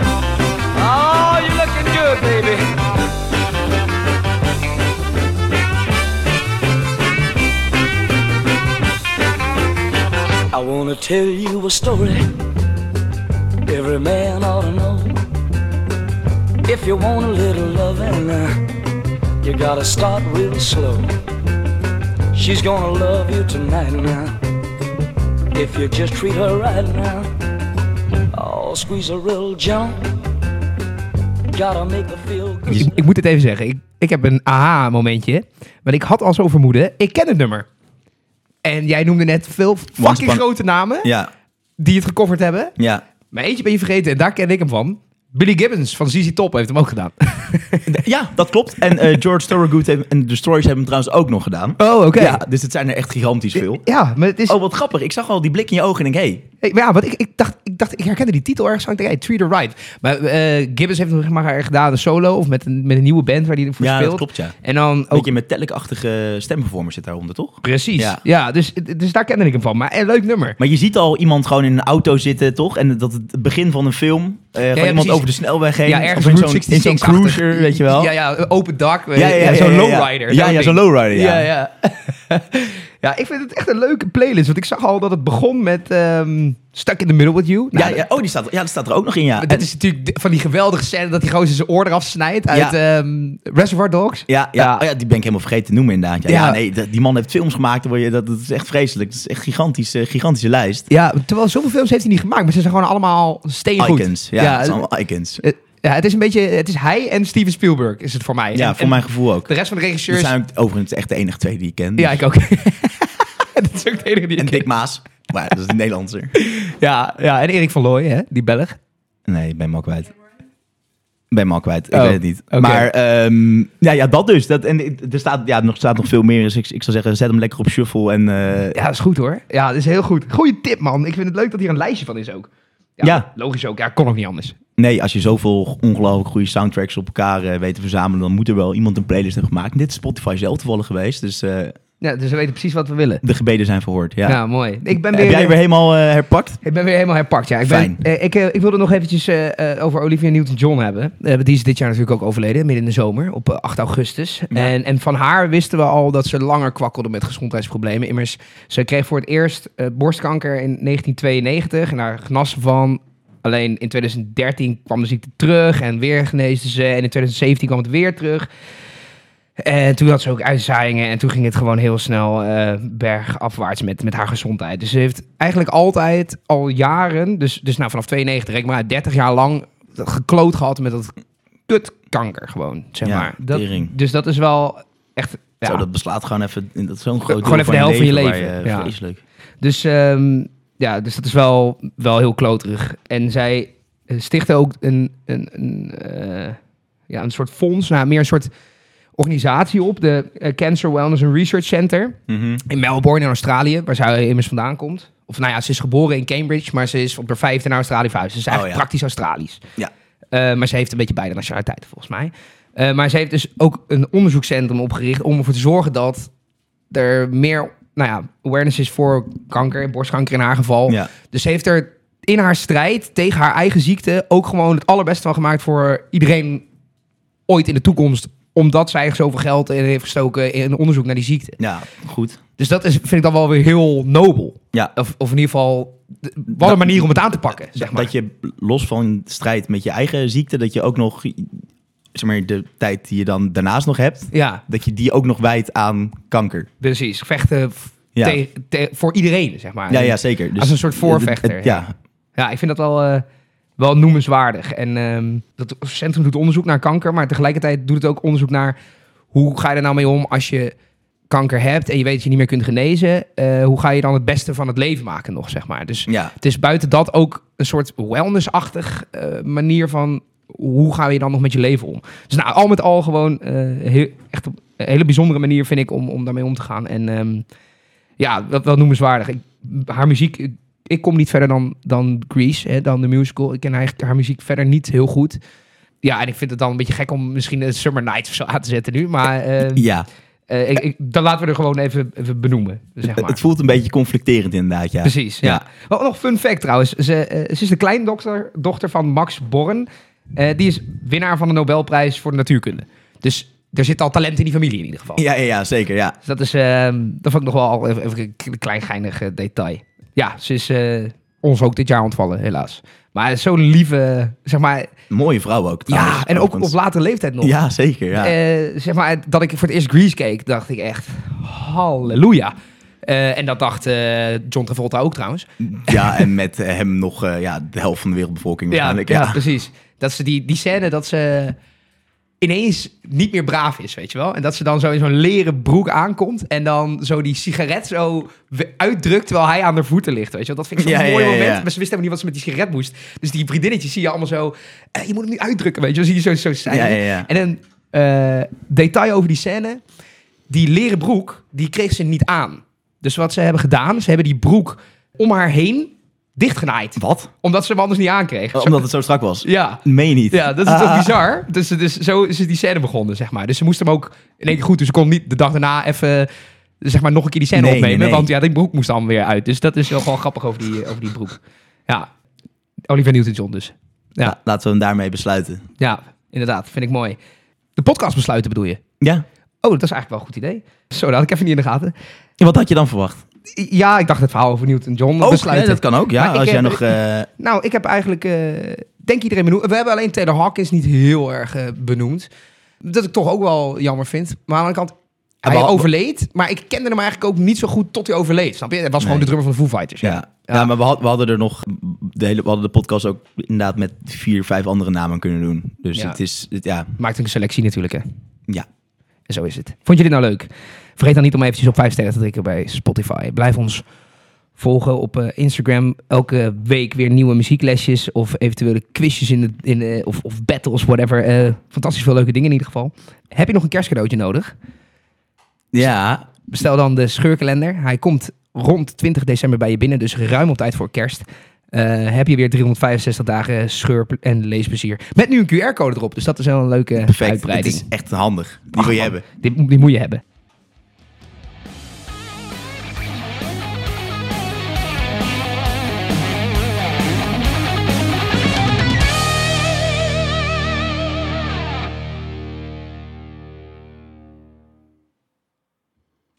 Speaker 5: Oh, you're looking good, baby.
Speaker 6: I wanna tell you a story every man ought to know. If you want a little loving, uh, you gotta start real slow. She's gonna love you tonight now. If you just treat her right now, oh, squeeze her real gentle. Gotta make her feel good.
Speaker 1: Ik, ik moet het even zeggen. Ik, ik heb een aha-momentje. Want ik had al zo vermoeden, ik ken het nummer. En jij noemde net veel fucking
Speaker 3: Upon-
Speaker 1: grote namen
Speaker 3: Ja,
Speaker 1: die het gecoverd hebben.
Speaker 3: ja.
Speaker 1: Maar eentje ben je vergeten en daar ken ik hem van. Billy Gibbons van ZZ Top heeft hem ook gedaan.
Speaker 3: Ja, dat klopt. En eh, George Thorogood heeft- en The Stories hebben hem trouwens ook nog gedaan.
Speaker 1: Oh, oké.
Speaker 3: Ja, dus het zijn er echt gigantisch veel.
Speaker 1: Ja, maar het is...
Speaker 3: Oh, wat grappig. Ik zag al die blik in je ogen en ik denk, hey,
Speaker 1: Hey, maar ja, want ik, ik, dacht, ik dacht, ik herkende die titel ergens. aan. Ik dacht, hey, Tree the Ride. Maar eh, Gibbons heeft nog maar gedaan een solo of met een, met een nieuwe band waar hij voor
Speaker 3: Ja,
Speaker 1: speelt.
Speaker 3: dat klopt, ja.
Speaker 1: En dan ook
Speaker 3: Beetje metallic-achtige stemperformer zit daaronder, toch?
Speaker 1: Precies. Ja,
Speaker 3: Ja.
Speaker 1: dus, dus daar kende ik hem van. Maar een leuk nummer.
Speaker 3: Maar je ziet al iemand gewoon in een auto zitten, toch? En dat het begin van een film, eh, gewoon
Speaker 1: ja,
Speaker 3: iemand
Speaker 1: precies.
Speaker 3: over de snelweg heen.
Speaker 1: ja,
Speaker 3: of
Speaker 1: ergens
Speaker 3: in
Speaker 1: Route
Speaker 3: zo'n in zo'n
Speaker 1: 66
Speaker 3: cruiser, weet je wel.
Speaker 1: Ja, ja, open dak. eh, zo'n lowrider.
Speaker 3: Ja, ja,
Speaker 1: ding.
Speaker 3: zo'n lowrider,
Speaker 1: Ja,
Speaker 3: ja.
Speaker 1: ja. ja, ik vind het echt een leuke playlist. Want ik zag al dat het begon met ehm, Stuck in the Middle with You.
Speaker 3: Ja,
Speaker 1: Nou,
Speaker 3: ja, oh, die staat, ja, die staat er ook nog in, ja.
Speaker 1: dat- Dat is natuurlijk de- van die geweldige scène dat die gozer zijn oor eraf snijdt uit ehm, Reservoir Dogs.
Speaker 3: Ja, ja, Oh ja, die ben ik helemaal vergeten te noemen inderdaad. Ja,
Speaker 1: Ja.
Speaker 3: ja. nee, dat- die man heeft films gemaakt. Waar je, dat, dat is echt vreselijk. Dat is echt een gigantische, gigantische lijst.
Speaker 1: Ja, terwijl zoveel films heeft hij niet gemaakt, maar ze zijn gewoon allemaal steengoed.
Speaker 3: Icons. Ja, het zijn allemaal icons.
Speaker 1: eh, ja, het is een beetje, het is hij en Steven Spielberg is het voor mij.
Speaker 3: Ja,
Speaker 1: En-
Speaker 3: voor
Speaker 1: en
Speaker 3: mijn gevoel ook.
Speaker 1: De rest van de
Speaker 3: Dat
Speaker 1: regisseurs
Speaker 3: zijn ook overigens echt de enige twee die ik ken.
Speaker 1: Ja, ik ook. dat is ook de enige die
Speaker 3: en
Speaker 1: ik
Speaker 3: Dick
Speaker 1: ken.
Speaker 3: Maas. Maar dat is een Nederlandser.
Speaker 1: Ja, ja, en Erik van Looy, hè, die Belg.
Speaker 3: Nee, ik ben hem al kwijt. Ik ben hem al kwijt. Ik
Speaker 1: Oh,
Speaker 3: weet het niet.
Speaker 1: oké.
Speaker 3: Maar ehm, ja, ja, dat dus. Dat, en ik- er staat, ja, nog, staat nog veel meer. Dus ik, ik zou zeggen, zet hem lekker op shuffle. En, eh,
Speaker 1: Ja, dat is goed hoor. Ja, dat is heel goed. Goeie tip, man. Ik vind het leuk dat hier een lijstje van is ook.
Speaker 3: Ja.
Speaker 1: Logisch ook. Ja, kon ook niet anders.
Speaker 3: Nee, als je zoveel ongelooflijk goede soundtracks op elkaar eh, weet te verzamelen, dan moet er wel iemand een playlist hebben gemaakt. En dit is Spotify zelf toevallig geweest, dus eh,
Speaker 1: Ja, dus we weten precies wat we willen.
Speaker 3: de gebeden zijn verhoord. Ja.
Speaker 1: Ja, mooi. Ik ben
Speaker 3: Heb
Speaker 1: weer,
Speaker 3: jij weer helemaal eh, herpakt?
Speaker 1: ik ben weer helemaal herpakt, ja. Ik, ben,
Speaker 3: Fijn.
Speaker 1: eh, ik, eh, ik wilde nog eventjes eh, eh, over Olivia Newton-John hebben. Eh, die is dit jaar natuurlijk ook overleden, midden in de zomer, op eh, 8 augustus. En, en van haar wisten we al dat ze langer kwakkelde met gezondheidsproblemen. Immers, ze kreeg voor het eerst eh, borstkanker in 1992 en daar genas ze van. Alleen in 2013 kwam de ziekte terug en weer geneesde ze. En in 2017 kwam het weer terug. En toen had ze ook uitzaaiingen en toen ging het gewoon heel snel eh, bergafwaarts met, met haar gezondheid. Dus ze heeft eigenlijk altijd al jaren, dus, dus nou vanaf 92, reken maar uit, 30 jaar lang gekloot gehad met dat kutkanker gewoon, zeg
Speaker 3: Ja,
Speaker 1: maar. Dat,
Speaker 3: tering.
Speaker 1: dus dat is wel echt... Ja.
Speaker 3: Zo, dat beslaat gewoon even, dat is zo'n groot
Speaker 1: Gewoon
Speaker 3: deel
Speaker 1: even de helft van je
Speaker 3: waar
Speaker 1: leven,
Speaker 3: je-
Speaker 1: ja.
Speaker 3: Vreselijk.
Speaker 1: Dus, ehm, ja, dus dat is wel, wel heel kloterig. En zij eh, stichtte ook een, een, een, eh, ja, een soort fonds, nou, meer een soort organisatie op, de eh, Cancer Wellness and Research Center in Melbourne in Australië, waar zij immers vandaan komt. Of nou ja, ze is geboren in Cambridge, maar ze is op haar vijfde naar Australië verhuisd. Ze is eigenlijk
Speaker 3: ja.
Speaker 1: praktisch Australisch.
Speaker 3: Ja.
Speaker 1: Eh, maar ze heeft een beetje beide nationaliteiten volgens mij. Eh, maar ze heeft dus ook een onderzoekscentrum opgericht om ervoor te zorgen dat er meer nou ja, awareness is voor kanker, borstkanker in haar geval.
Speaker 3: Ja.
Speaker 1: Dus ze heeft er in haar strijd tegen haar eigen ziekte ook gewoon het allerbeste van gemaakt voor iedereen ooit in de toekomst. Omdat zij zoveel geld in heeft gestoken in onderzoek naar die ziekte.
Speaker 3: ja, goed.
Speaker 1: Dus dat is, vind ik dan wel weer heel nobel.
Speaker 3: Ja.
Speaker 1: Of, of in ieder geval, d- wat een manier om het aan te pakken. Zeg maar.
Speaker 3: Dat je los van strijd met je eigen ziekte, dat je ook nog, zeg maar, de tijd die je dan daarnaast nog hebt,
Speaker 1: Ja,
Speaker 3: dat je die ook nog wijdt aan kanker.
Speaker 1: precies. Vechten f-
Speaker 3: Ja.
Speaker 1: te- te- voor iedereen, zeg maar.
Speaker 3: Ja, ja, zeker. Dus
Speaker 1: Als een soort voorvechter.
Speaker 3: het- het- ja,
Speaker 1: Ja, ik vind dat wel, eh, wel noemenswaardig. En ehm, dat centrum doet onderzoek naar kanker, maar tegelijkertijd doet het ook onderzoek naar hoe ga je er nou mee om als je kanker hebt en je weet dat je niet meer kunt genezen. Eh, hoe ga je dan het beste van het leven maken nog, zeg maar. Dus
Speaker 3: ja.
Speaker 1: het is buiten dat ook een soort wellnessachtig eh manier van hoe ga je dan nog met je leven om. Dus nou, al met al gewoon eh, heel, echt op een hele bijzondere manier vind ik om, om daarmee om te gaan. En ehm, ja, wel, wel noemenswaardig. Ik, haar muziek, ik, ik kom niet verder dan, dan Grease, hè, dan de musical. Ik ken eigenlijk haar muziek verder niet heel goed. Ja, en ik vind het dan een beetje gek om misschien een Summer Nights of zo aan te zetten nu. Maar eh,
Speaker 3: ja.
Speaker 1: eh, ik, ik- dan laten we er gewoon even, even benoemen, zeg maar.
Speaker 3: Het voelt een beetje conflicterend inderdaad, ja.
Speaker 1: Precies, ja. Wel, nog fun fact trouwens. Ze, eh, ze is de kleindochter dochter van Max Born. Eh, die is winnaar van de Nobelprijs voor de natuurkunde. Dus er zit al talent in die familie in ieder geval.
Speaker 3: Ja, ja, ja, zeker, ja.
Speaker 1: Dus dat is, ehm, dat vond ik nog wel even, even een k- klein geinig eh, detail. Ja, ze is eh, ons ook dit jaar ontvallen, helaas. Maar het is zo'n lieve, zeg maar...
Speaker 3: Mooie vrouw ook trouwens,
Speaker 1: Ja, en ook op
Speaker 3: overigens.
Speaker 1: late leeftijd nog.
Speaker 3: Ja, zeker, ja.
Speaker 1: Eh, zeg maar, dat ik voor het eerst Grease keek, dacht ik echt, halleluja. Eh, en dat dacht eh, John Travolta ook trouwens.
Speaker 3: ja, en met eh, hem nog eh, ja, de helft van de wereldbevolking
Speaker 1: Ja,
Speaker 3: waarschijnlijk.
Speaker 1: ja,
Speaker 3: Ja,
Speaker 1: precies. Dat ze die, die scène dat ze ineens niet meer braaf is, weet je wel. En dat ze dan zo in zo'n leren broek aankomt en dan zo die sigaret zo we- uitdrukt terwijl hij aan haar voeten ligt, weet je wel. Dat vind ik zo'n
Speaker 3: Ja, ja,
Speaker 1: mooi
Speaker 3: ja,
Speaker 1: moment.
Speaker 3: ja.
Speaker 1: Maar ze wist helemaal niet wat ze met die sigaret moest. Dus die vriendinnetjes zie je allemaal zo, eh, je moet hem nu uitdrukken, weet je wel. Zie je zo, zo zijn.
Speaker 3: Ja, ja, ja.
Speaker 1: En een eh, detail over die scène, die leren broek, die kreeg ze niet aan. Dus wat ze hebben gedaan, ze hebben die broek om haar heen dichtgenaaid.
Speaker 3: Wat? Oh,
Speaker 1: Omdat ze hem anders niet aankreeg. Zo-
Speaker 3: Omdat het zo strak was.
Speaker 1: ja.
Speaker 3: Meen je niet?
Speaker 1: Ja, dat is
Speaker 3: Ah.
Speaker 1: toch bizar? Dus, dus zo is die scène begonnen, zeg maar. Dus ze moest hem ook in één keer goed. Dus ze kon niet de dag daarna even, zeg maar, nog een keer die scène
Speaker 3: Nee,
Speaker 1: opnemen.
Speaker 3: nee, nee.
Speaker 1: Want ja, die broek moest dan weer uit. Dus dat is wel gewoon grappig over die, over die broek. Ja, Oliver Newton-John dus. Ja.
Speaker 3: La- Laten we hem daarmee besluiten.
Speaker 1: Ja, inderdaad. Vind ik mooi. De podcast besluiten bedoel je?
Speaker 3: Ja.
Speaker 1: Oh, dat is eigenlijk wel een goed idee. Zo, dat had ik even niet in de gaten.
Speaker 3: Wat had je dan verwacht?
Speaker 1: Ja, ik dacht het verhaal over Newton-John besluiten.
Speaker 3: nee, dat kan ook. Ja,
Speaker 1: Maar ik
Speaker 3: als jij
Speaker 1: heb-
Speaker 3: nog... eh,
Speaker 1: Nou, ik heb eigenlijk, eh, denk iedereen benoemd. We hebben alleen Taylor Hawkins niet heel erg eh, benoemd. Dat ik toch ook wel jammer vind. Maar aan de andere kant, hij
Speaker 3: maar-
Speaker 1: overleed. Maar ik kende hem eigenlijk ook niet zo goed tot hij overleed. Snap je? Het was gewoon de
Speaker 3: Nee.
Speaker 1: drummer van de Foo Fighters.
Speaker 3: ja.
Speaker 1: Ja.
Speaker 3: Ja. maar we, had- we hadden er nog... De hele, we hadden de podcast ook inderdaad met vier, vijf andere namen kunnen doen. Dus
Speaker 1: Ja.
Speaker 3: het is... Het, ja,
Speaker 1: Maakt een selectie natuurlijk, hè.
Speaker 3: ja.
Speaker 1: En zo is het. Vond je dit nou leuk? Vergeet dan niet om eventjes op 5 sterren te drukken bij Spotify. Blijf ons volgen op eh, Instagram. Elke week weer nieuwe muzieklesjes of eventuele quizjes in de, in, eh, of, of battles, whatever. Eh, fantastisch veel leuke dingen in ieder geval. Heb je nog een kerstcadeautje nodig?
Speaker 3: Ja,
Speaker 1: Bestel dan de scheurkalender. Hij komt rond 20 december bij je binnen, dus ruim op tijd voor kerst. Eh, heb je weer 365 dagen scheur- en leesplezier. Met nu een QR-code erop, dus dat is wel een leuke
Speaker 3: perfect. Het
Speaker 1: uitbreiding.
Speaker 3: is echt handig. Die wil je
Speaker 1: Ach, man,
Speaker 3: hebben.
Speaker 1: Die, die moet je hebben.